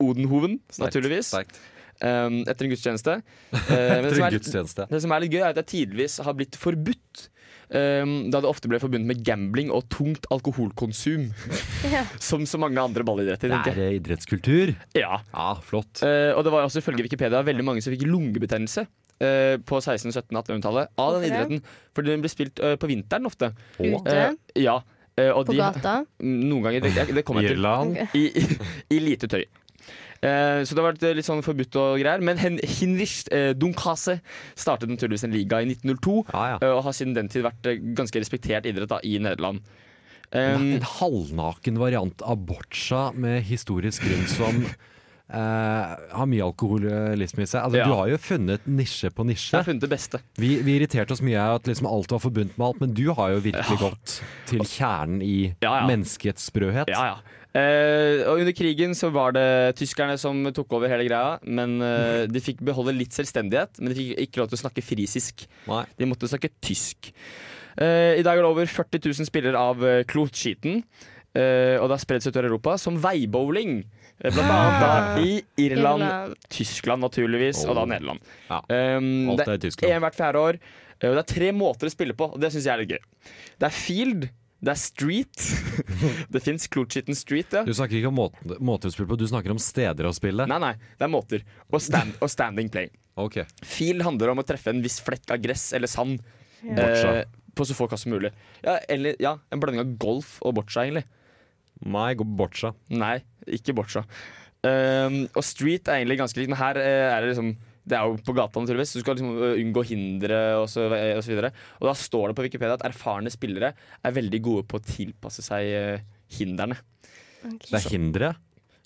Speaker 5: Odenhoven, naturligvis.
Speaker 6: Sterkt.
Speaker 5: Eh, etter en gudstjeneste. Eh, men det, som
Speaker 6: Til en
Speaker 5: er,
Speaker 6: gudstjeneste.
Speaker 5: det som er litt gøy, er at det tidvis har blitt forbudt. eh, da det ofte ble forbundet med gambling og tungt alkoholkonsum.
Speaker 4: Ja.
Speaker 5: Som så mange andre ballidretter.
Speaker 6: Det
Speaker 5: tenker
Speaker 6: er eh, idrettskultur.
Speaker 5: jeg. Ja.
Speaker 6: Ja, flott.
Speaker 5: Eh, og det var også ifølge Wikipedia veldig mange som fikk lungebetennelse eh, på 16-, 17-, 1800-tallet av den
Speaker 4: Hvorfor det?
Speaker 5: idretten. Fordi den ble spilt eh, på vinteren ofte.
Speaker 4: Ute?
Speaker 5: Eh, ja. Eh, og
Speaker 4: På
Speaker 5: de,
Speaker 4: gata?
Speaker 5: Noen ganger. Det, det kommer jeg til.
Speaker 6: Irland.
Speaker 5: I, i, I lite tøy. Eh, så det har vært eh, litt sånn forbudt og greier. Men Hen Hinrich eh, Dunkase startet naturligvis en liga i 1902,
Speaker 6: Ja, ja.
Speaker 5: eh, og har siden den tid vært eh, ganske respektert idrett da, i Nederland.
Speaker 6: En
Speaker 5: Um,
Speaker 6: halvnaken variant av boccia med historisk grunn som eh, har mye alkoholisme i seg. Altså,
Speaker 5: Ja.
Speaker 6: Du har jo funnet nisje på
Speaker 5: jeg
Speaker 6: nisje.
Speaker 5: har funnet det beste.
Speaker 6: Vi, vi irriterte oss mye av at liksom alt var forbundet med alt, men du har jo virkelig gått til kjernen i
Speaker 5: Ja, ja.
Speaker 6: menneskets sprøhet.
Speaker 5: Ja, ja. Eh, og under krigen så var det tyskerne som tok over hele greia. Men eh, de fikk beholde litt selvstendighet, men de fikk ikke lov til å snakke frisisk.
Speaker 6: Nei.
Speaker 5: De måtte snakke tysk. Eh, I dag er det over 40 000 spillere av eh, Klotskiten. eh, og det har spredt seg utover Europa som veibowling. Eh, Blant annet da i Irland,
Speaker 4: Irland.
Speaker 5: Tyskland naturligvis, og da
Speaker 6: Ah! Oh.
Speaker 5: Nederland.
Speaker 6: Ja.
Speaker 5: Um,
Speaker 6: Alt
Speaker 5: det
Speaker 6: er i
Speaker 5: er
Speaker 6: Tyskland.
Speaker 5: én hvert fjerde år. eh, Og det er tre måter å spille på, og det syns jeg er litt gøy. Det er field, det er street. det fins Klotskitten Street, ja.
Speaker 6: Du snakker ikke om måten, måter å spille på, du snakker om steder å spille.
Speaker 5: Nei, nei, det er måter. Og, stand, og standing play.
Speaker 6: Ok.
Speaker 5: Feel handler om å treffe en viss flekk av gress eller sand eh,
Speaker 6: Boccia.
Speaker 5: på så få kast som mulig. Ja, eller, ja, en blanding av golf og boccia, egentlig.
Speaker 6: Nei, gå på boccia.
Speaker 5: Nei, ikke boccia. Um, og street er egentlig ganske likt, men her eh, er det liksom det er jo på gata, naturligvis. så Du skal liksom eh, unngå hindre og så, eh, og så videre. Og da står det på Wikipedia at erfarne spillere er veldig gode på å tilpasse seg eh, hindrene.
Speaker 6: Det er hindre.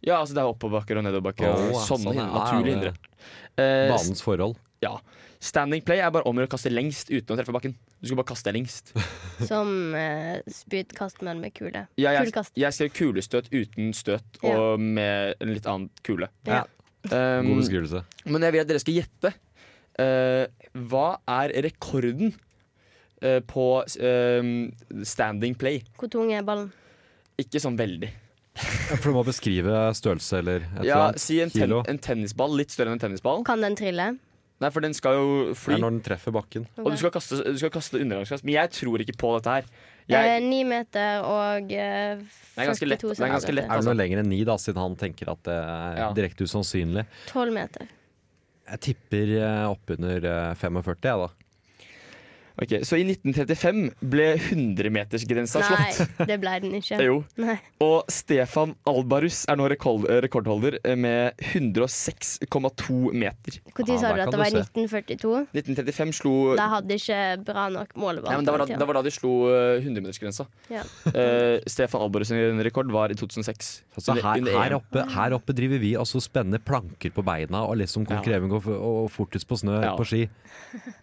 Speaker 5: Ja, altså det er oppoverbakker og nedoverbakker.
Speaker 6: Å,
Speaker 5: og sånne
Speaker 6: sånn,
Speaker 5: hindre,
Speaker 6: ja,
Speaker 5: naturlige
Speaker 6: ja, ja.
Speaker 5: hindre. Eh,
Speaker 6: Banens forhold.
Speaker 5: Ja. Standing play er bare om å gjøre å kaste lengst uten å treffe bakken. Du skal bare kaste lengst.
Speaker 4: Som eh, spydkast, men med kule.
Speaker 5: Ja, jeg,
Speaker 4: Kulekast.
Speaker 5: jeg skrev kulestøt uten støt og
Speaker 4: Ja.
Speaker 5: med en litt annen kule.
Speaker 4: Ja.
Speaker 5: Um,
Speaker 6: God beskrivelse.
Speaker 5: men jeg vil at dere skal gjette. Eh, hva er rekorden eh, på eh, standing play?
Speaker 4: Hvor tung er ballen?
Speaker 5: Ikke sånn veldig.
Speaker 6: For du må beskrive størrelse eller et eller
Speaker 5: Ja,
Speaker 6: annet.
Speaker 5: si en, ten
Speaker 6: Kilo.
Speaker 5: en tennisball. Litt større enn en tennisball.
Speaker 4: Kan den trille?
Speaker 5: Nei, for den skal jo
Speaker 6: Det
Speaker 5: fly.
Speaker 6: er når den treffer bakken.
Speaker 5: Og du skal kaste, du skal kaste undergangskast. Men jeg tror ikke på dette her.
Speaker 4: Eh,
Speaker 5: Jeg,
Speaker 4: Ni meter og eh,
Speaker 5: Den er ganske lett.
Speaker 4: 42
Speaker 5: Den er ganske lett,
Speaker 6: Er det
Speaker 5: altså.
Speaker 6: noe lenger enn ni, da, siden han tenker at det er
Speaker 5: Ja.
Speaker 6: direkte usannsynlig?
Speaker 4: 12 meter.
Speaker 6: Jeg tipper eh, oppunder eh, 45, jeg, da.
Speaker 5: Ok, så i 1935 ble 100-metersgrensa
Speaker 4: Nei,
Speaker 5: slått.
Speaker 4: det ble den ikke.
Speaker 5: Jo.
Speaker 4: Nei.
Speaker 5: Og Stefan Albarus er nå rekord, eh, rekordholder med 106,2 meter.
Speaker 4: Når
Speaker 6: Ah,
Speaker 4: sa du at
Speaker 6: der kan
Speaker 4: det
Speaker 6: du
Speaker 4: var i
Speaker 6: se.
Speaker 4: 1942?
Speaker 5: 1935 slo
Speaker 4: Da hadde ikke bra nok måleball.
Speaker 5: Nei, men det var, da, det var da de slo eh, 100-metersgrensa.
Speaker 4: Ja.
Speaker 5: Eh, Stefan Albarus' sin rekord var i 2006.
Speaker 6: Så
Speaker 5: Under-
Speaker 6: her,
Speaker 5: under
Speaker 6: her,
Speaker 5: EM.
Speaker 6: oppe, her oppe driver vi altså spenner planker på beina og liksom konkurrerer og, og fortest på snø
Speaker 5: Ja.
Speaker 6: på ski.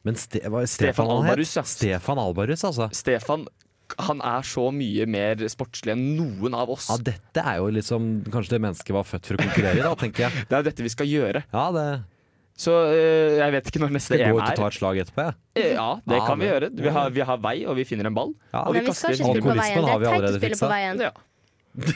Speaker 6: Men Ste, hva, er
Speaker 5: Stefan
Speaker 6: Stefan, han het?
Speaker 5: Albarus, ja.
Speaker 6: Stefan Albarus, altså.
Speaker 5: Stefan han er så mye mer sportslig enn noen av oss.
Speaker 6: Ja, dette er jo liksom kanskje det mennesket var født for å konkurrere i, da, tenker jeg.
Speaker 5: Det er jo dette vi skal gjøre.
Speaker 6: Ja, det
Speaker 5: Så eh, jeg vet ikke når neste
Speaker 6: Skal jeg
Speaker 5: EM
Speaker 6: gå ut og
Speaker 5: er.
Speaker 6: ta et slag etterpå? jeg?
Speaker 5: Eh, Ja, det
Speaker 6: Ja,
Speaker 5: kan vi
Speaker 6: men-
Speaker 5: gjøre. Vi har, vi har vei, og vi finner en ball.
Speaker 6: Ja.
Speaker 5: Og vi
Speaker 4: Men vi skal
Speaker 5: kaster
Speaker 4: ikke spille på
Speaker 6: Alkoholismen
Speaker 4: veien.
Speaker 6: har
Speaker 4: Det
Speaker 6: vi
Speaker 4: er teit å
Speaker 6: allerede
Speaker 4: spille
Speaker 6: fiksa.
Speaker 4: på veien.
Speaker 5: Ja.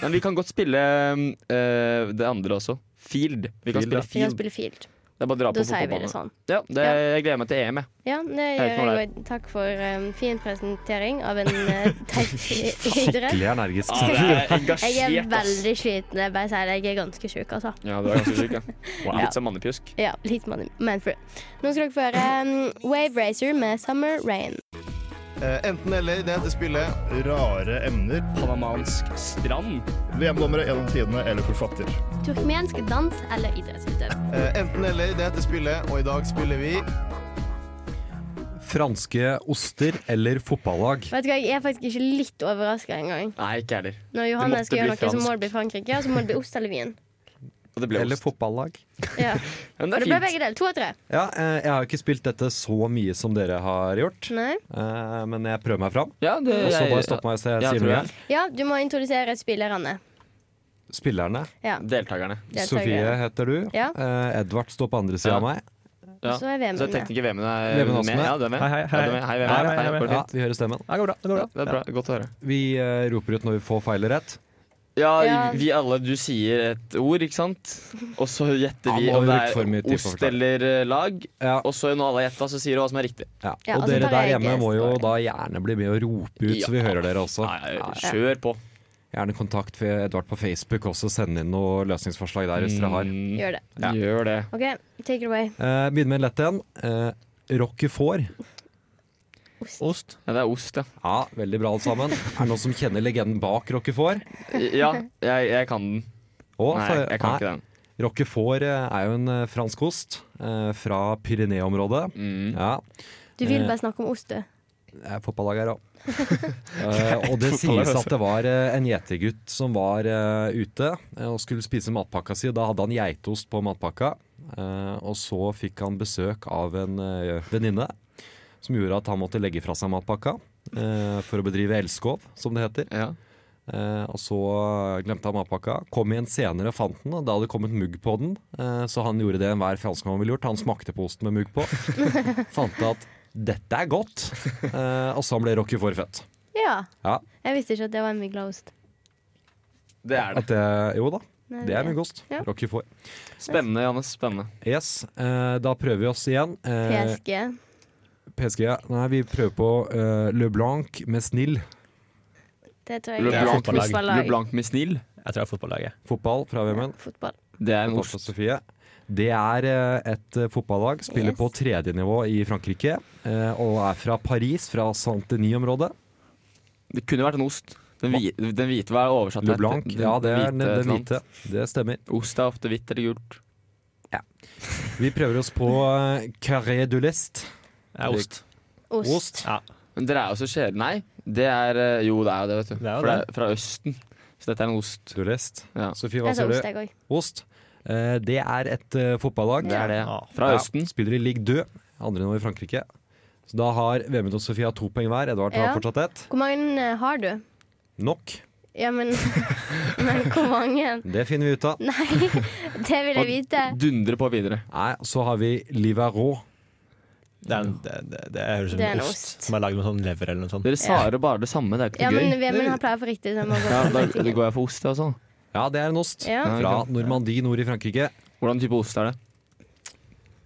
Speaker 5: Men vi kan godt spille eh, det andre også. Field. Vi kan
Speaker 6: Field,
Speaker 4: Vi
Speaker 5: spille
Speaker 6: ja.
Speaker 4: kan
Speaker 5: field.
Speaker 4: spille field.
Speaker 5: Det er bare å dra
Speaker 4: Da
Speaker 5: på
Speaker 4: sier vi det
Speaker 5: fotballbanen.
Speaker 4: sånn.
Speaker 5: Ja, det, jeg gleder meg til EM, jeg.
Speaker 4: Ja, det
Speaker 5: vet ikke
Speaker 4: gjør
Speaker 5: hva
Speaker 4: jeg òg. Takk for em, fin presentering av en eh, teit idrett.
Speaker 6: Skikkelig energisk.
Speaker 5: Ja, det er engasjert,
Speaker 4: Jeg er
Speaker 5: ass.
Speaker 4: veldig sliten. Jeg bare sier det. Jeg er ganske sjuk, altså.
Speaker 5: Ja, du er ganske syk, ja.
Speaker 4: Wow.
Speaker 5: Litt som mannepjusk.
Speaker 4: Ja, litt money, man for it. Nå skal dere få høre em, Wave Racer med Summer Rain.
Speaker 10: Enten eller, det heter spillet Rare emner.
Speaker 5: Panamansk strand.
Speaker 10: VM-dommere gjennom tidene eller forfatter.
Speaker 4: Turkmensk dans eller idrettsutøver.
Speaker 10: Eh, Enten eller, det heter spillet, og i dag spiller vi
Speaker 6: Franske oster eller fotballag?
Speaker 4: Vet du hva, Jeg er faktisk ikke litt overraska engang.
Speaker 5: Nei, ikke heller.
Speaker 4: Når Johanne
Speaker 5: måtte
Speaker 4: skal gjøre noe,
Speaker 5: bli
Speaker 4: så må
Speaker 5: fransk.
Speaker 4: det bli Frankrike. Og så må det bli ost eller vin.
Speaker 5: Og det ble
Speaker 6: Eller
Speaker 5: ost.
Speaker 6: fotballag?
Speaker 4: Ja.
Speaker 5: Men
Speaker 4: Og det
Speaker 5: det
Speaker 4: ble
Speaker 5: er fint.
Speaker 4: begge deler. To og tre.
Speaker 6: Ja, eh, jeg har ikke spilt dette så mye som dere har gjort,
Speaker 4: Nei.
Speaker 6: eh, men jeg prøver meg fram.
Speaker 5: Ja, det,
Speaker 6: Og så
Speaker 5: jeg-
Speaker 6: bare stopp meg hvis jeg
Speaker 5: Ja,
Speaker 6: sier
Speaker 5: tror
Speaker 6: noe.
Speaker 5: jeg.
Speaker 4: Ja, du må introdusere spillerne.
Speaker 6: Spillerne.
Speaker 4: Ja,
Speaker 5: Deltakerne.
Speaker 4: deltakere.
Speaker 6: Sofie heter du.
Speaker 4: Ja.
Speaker 6: Eh, Edvard står på andre sida
Speaker 5: Ja.
Speaker 6: av meg.
Speaker 5: Ja.
Speaker 4: Og så er VM-en
Speaker 5: Så tekniker Vemund er
Speaker 6: Vemund også
Speaker 5: med.
Speaker 6: med.
Speaker 5: Ja, du er med.
Speaker 6: Hei, hei,
Speaker 5: Ja, du er med. Hei, Vemund.
Speaker 6: Hei, hei,
Speaker 5: Går det
Speaker 6: Ja,
Speaker 5: fint?
Speaker 6: vi hører stemmen.
Speaker 5: Ja, det går bra. Det, går bra.
Speaker 6: Ja,
Speaker 5: det er bra. Godt å høre.
Speaker 6: Vi eh, roper ut når vi får feil rett.
Speaker 5: Ja,
Speaker 4: Ja.
Speaker 5: vi alle, du sier et ord, ikke sant? Og så gjetter vi
Speaker 6: Ja, nå har
Speaker 5: om
Speaker 6: vi
Speaker 5: det
Speaker 6: brukt for mye
Speaker 5: er
Speaker 6: tid på å
Speaker 5: ost
Speaker 6: forklare.
Speaker 5: eller eh, lag.
Speaker 6: Ja.
Speaker 5: Og så når alle har gjetta, så sier du hva som er riktig.
Speaker 6: Ja.
Speaker 4: Ja,
Speaker 6: og
Speaker 4: altså,
Speaker 6: dere
Speaker 4: tar
Speaker 6: der
Speaker 4: jeg
Speaker 6: hjemme
Speaker 4: ikke
Speaker 6: må jo
Speaker 4: scoring.
Speaker 6: da gjerne bli med og rope ut, så vi
Speaker 5: Ja.
Speaker 6: hører dere også.
Speaker 5: Nei, kjør på.
Speaker 6: Gjerne kontakt ved Edvard på Facebook også, send inn noen løsningsforslag der hvis dere har.
Speaker 5: Mm,
Speaker 4: Gjør det.
Speaker 5: ja. Gjør det.
Speaker 4: OK, take it away.
Speaker 6: Eh, Begynner med en lett en. Eh, Roquefort.
Speaker 5: Ost. Ja, det er ost, ja.
Speaker 6: Ja, veldig bra alle sammen. Er det noen som kjenner legenden bak Roquefort?
Speaker 5: Ja, jeg, jeg kan den.
Speaker 6: Å,
Speaker 5: Nei,
Speaker 6: for-
Speaker 5: jeg kan
Speaker 6: nei,
Speaker 5: ikke den.
Speaker 6: Roquefort eh, er jo en eh, fransk ost eh, fra Pyreneeområdet.
Speaker 5: Mm.
Speaker 6: Ja,
Speaker 4: Du vil
Speaker 5: Eh.
Speaker 4: bare snakke om ost, du.
Speaker 6: Jeg er fotballag her òg. og det sies at det var eh, en gjetergutt som var eh, ute eh, og skulle spise matpakka si. og Da hadde han geitost på matpakka, eh, og så fikk han besøk av en eh, venninne som gjorde at han måtte legge fra seg matpakka eh, for å bedrive elskov, som det heter.
Speaker 5: Ja.
Speaker 6: Eh, og så glemte han matpakka. Kom igjen senere og fant den, og da hadde det kommet mugg på den. Eh, så han gjorde det enhver franskmann ville gjort. Han smakte på osten med mugg på. fant at dette er godt. Eh, og sånn ble Rocky forfødt.
Speaker 4: Ja.
Speaker 6: Ja.
Speaker 4: Jeg visste ikke at det var en myglaost.
Speaker 5: Det er det.
Speaker 6: At det, jo da,
Speaker 4: Nei,
Speaker 6: det er muggost.
Speaker 4: Ja.
Speaker 6: Rocky får.
Speaker 5: Spennende, Jannes. Spennende.
Speaker 6: Yes, eh, da prøver vi oss igjen. Eh,
Speaker 4: PSG.
Speaker 6: PSG. Nei, vi prøver på eh, Le Blanc med Snill.
Speaker 4: Det tror jeg
Speaker 5: Le
Speaker 4: er
Speaker 5: Blanc,
Speaker 4: et fotballag.
Speaker 5: Le Blanc med snill.
Speaker 7: Jeg tror det er fotballaget.
Speaker 6: Fotball fra Vemund.
Speaker 4: Fotball.
Speaker 5: Det er en
Speaker 6: Fotball fra
Speaker 5: ost.
Speaker 6: Sofie. Det er eh, et eh, fotballag, spiller
Speaker 4: Yes.
Speaker 6: på tredje nivå i Frankrike, eh, og er fra Paris, fra Saint-Denis-området.
Speaker 5: Det kunne vært en ost. Den, hvi- den hvite hva er oversatt
Speaker 6: Le
Speaker 5: til?
Speaker 6: Blanc,
Speaker 5: Den-
Speaker 6: ja det er den
Speaker 5: et
Speaker 6: den
Speaker 5: eller annet.
Speaker 6: hvite. Det stemmer.
Speaker 5: Ost er ofte hvitt eller gult.
Speaker 6: Vi prøver oss på eh, Carré du Lest.
Speaker 7: Det er ost.
Speaker 4: Ost.
Speaker 6: Ost.
Speaker 5: Men dere er jo så kjedelige. Nei, det er eh, Jo, det er jo det, vet du.
Speaker 7: Det er jo
Speaker 5: For det er fra Østen. Så dette er en ost.
Speaker 6: Du lest.
Speaker 5: Ja.
Speaker 6: Sofie, hva
Speaker 4: Jeg sa
Speaker 6: sier
Speaker 4: ost,
Speaker 6: du?
Speaker 4: jeg òg.
Speaker 6: Ost. Eh, Det er et eh, fotballag.
Speaker 5: Det er det.
Speaker 7: Ja.
Speaker 5: Fra
Speaker 6: Ja,
Speaker 5: Østen.
Speaker 6: Spiller i Ligue 2, andre nivå i Frankrike. Så da har Vemund og Sofie to poeng hver. Edvard
Speaker 4: Ja.
Speaker 6: har fortsatt ett.
Speaker 4: Hvor mange eh, har du?
Speaker 6: Nok.
Speaker 4: Ja, men Men hvor mange?
Speaker 6: Det finner vi ut av.
Speaker 4: Nei, det vil jeg vite.
Speaker 5: Dundre på videre.
Speaker 6: Nei, så har vi Livarot.
Speaker 7: Det, er en, det, det, det høres ut
Speaker 4: Det er
Speaker 7: som
Speaker 4: en
Speaker 7: en ost,
Speaker 4: ost.
Speaker 7: som er lagd med sånn lever eller noe sånt.
Speaker 5: Dere svarer bare det samme. Det er
Speaker 4: Ja,
Speaker 5: ikke
Speaker 4: men
Speaker 5: noe gøy.
Speaker 4: Vemund har pleier for riktig. Så jeg må gå
Speaker 5: Ja,
Speaker 4: for
Speaker 5: da
Speaker 4: riktig.
Speaker 5: da går jeg for ost, altså. jeg også.
Speaker 6: Ja, det er en ost.
Speaker 4: Ja.
Speaker 6: Fra Normandie nord i Frankrike.
Speaker 5: Hvordan type ost er det?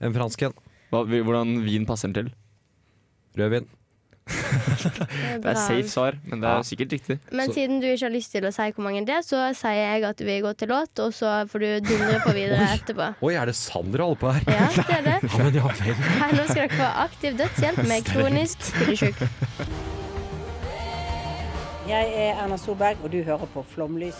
Speaker 6: En fransk en.
Speaker 5: Hva, vi- hvordan vin passer den til?
Speaker 6: Rødvin.
Speaker 5: Det er
Speaker 4: bra.
Speaker 5: safe svar, men det
Speaker 6: Ja.
Speaker 5: er sikkert riktig.
Speaker 4: Men
Speaker 6: Så-
Speaker 4: siden du ikke har lyst til å si hvor mange det er, så sier jeg at vi går til låt, og så får du dundre på videre etterpå.
Speaker 6: Oi, er det Sander holder på her?
Speaker 4: Ja, det er det.
Speaker 6: Ja, men ja vel.
Speaker 4: Her nå skal dere få aktiv dødshjelp med kronisk fyllesyk.
Speaker 11: Jeg er Erna Solberg, og du hører på Flomlys.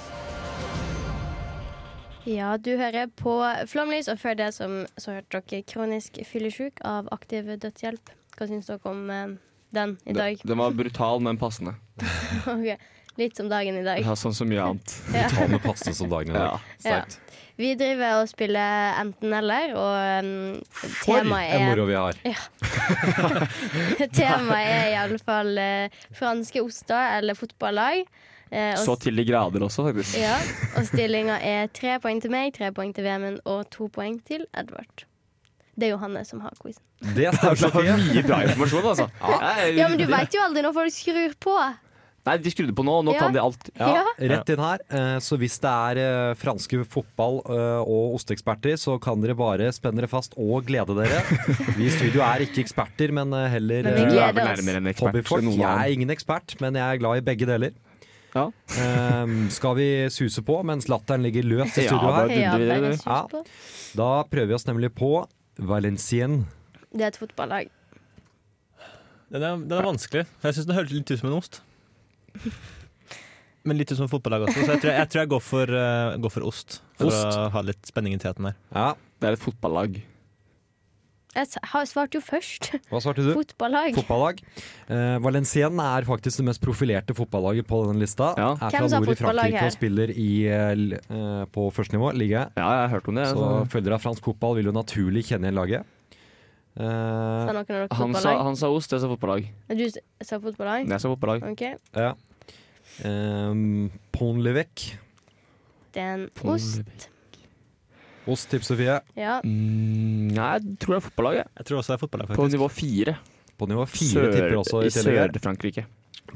Speaker 4: Ja, du hører på Flomlys, og før det som, så hørte dere kronisk fyllesyk av aktiv dødshjelp. Hva syns dere om eh, den i dag?
Speaker 5: Den var brutal, men passende.
Speaker 4: Ok, Litt som dagen i dag.
Speaker 5: Ja, sånn som mye annet.
Speaker 4: Ja.
Speaker 6: Ta med passende som dagen i dag.
Speaker 5: Ja, sterkt.
Speaker 4: Vi driver og spiller enten-eller, og um,
Speaker 6: For
Speaker 4: temaet
Speaker 6: en
Speaker 4: er
Speaker 6: moro vi har.
Speaker 4: Temaet er iallfall eh, franske oster eller fotballag. Eh, og,
Speaker 5: Så til de grader også, faktisk.
Speaker 4: ja, og stillinga er tre poeng til meg, tre poeng til Vemund og to poeng til Edvard. Det er Johanne som har quizen.
Speaker 5: Det er så mye bra informasjon, altså. Jeg-
Speaker 4: Ja, men du veit jo aldri når folk skrur på.
Speaker 5: Nei, de skrudde på nå, og nå
Speaker 4: Ja.
Speaker 5: kan de alt.
Speaker 4: Ja.
Speaker 6: Rett inn her. eh, Så hvis det er eh, franske fotball- eh, og osteeksperter, så kan dere bare spenne dere fast og glede dere. Vi i studio er ikke eksperter, men eh, heller
Speaker 5: Men vi gleder Du
Speaker 6: eh,
Speaker 5: er vel oss. nærmere en ekspert
Speaker 6: hobbyfolk.
Speaker 5: enn noen
Speaker 6: Jeg
Speaker 5: annen.
Speaker 6: er ingen ekspert, men jeg er glad i begge deler. Ehm, skal vi suse på mens latteren ligger løs i
Speaker 5: Ja,
Speaker 6: studio
Speaker 5: da
Speaker 6: her?
Speaker 5: dundrer vi det, du.
Speaker 4: Ja. på.
Speaker 6: Da prøver vi oss nemlig på Valencien.
Speaker 4: Det er et fotballag.
Speaker 12: Den er, den er vanskelig. for Jeg syns den høres litt ut som en ost. Men litt ut som et fotballag også, så jeg tror jeg, jeg, tror jeg går, for, eh, går for ost. For
Speaker 5: Ost?
Speaker 12: å ha litt spenning i teten der.
Speaker 5: Det er et fotballag.
Speaker 4: Jeg s- har svart jo først.
Speaker 6: Hva svarte du?
Speaker 4: Fotballag.
Speaker 6: Fotballag. Eh, Valencien er faktisk det mest profilerte fotballaget på denne lista. Er
Speaker 4: Hvem sa
Speaker 6: fra nord i
Speaker 4: fotballag
Speaker 6: Frankrike
Speaker 4: her?
Speaker 6: og spiller i, eh, l- eh, på førstenivå, ligger jeg. Så
Speaker 5: så-
Speaker 6: følgere av fransk fotball vil jo naturlig kjenne igjen laget. Eh,
Speaker 4: Sa noen av dere
Speaker 5: Han sa,
Speaker 4: fotballag?
Speaker 5: han sa ost, jeg sa fotballag.
Speaker 4: Du s- sa fotballag?
Speaker 5: Jeg sa fotballag.
Speaker 4: Ok.
Speaker 6: ja. Eh, Pont-l'Évêque.
Speaker 4: Det er en ost.
Speaker 6: Ost, tips Sofie.
Speaker 4: Ja.
Speaker 5: Mm, nei, jeg tror det er fotballag.
Speaker 12: Jeg tror også det er fotballag,
Speaker 5: På
Speaker 12: faktisk.
Speaker 5: nivå fire.
Speaker 6: På nivå fire tipper også i
Speaker 5: I
Speaker 6: tillegg her.
Speaker 5: Sør-Frankrike.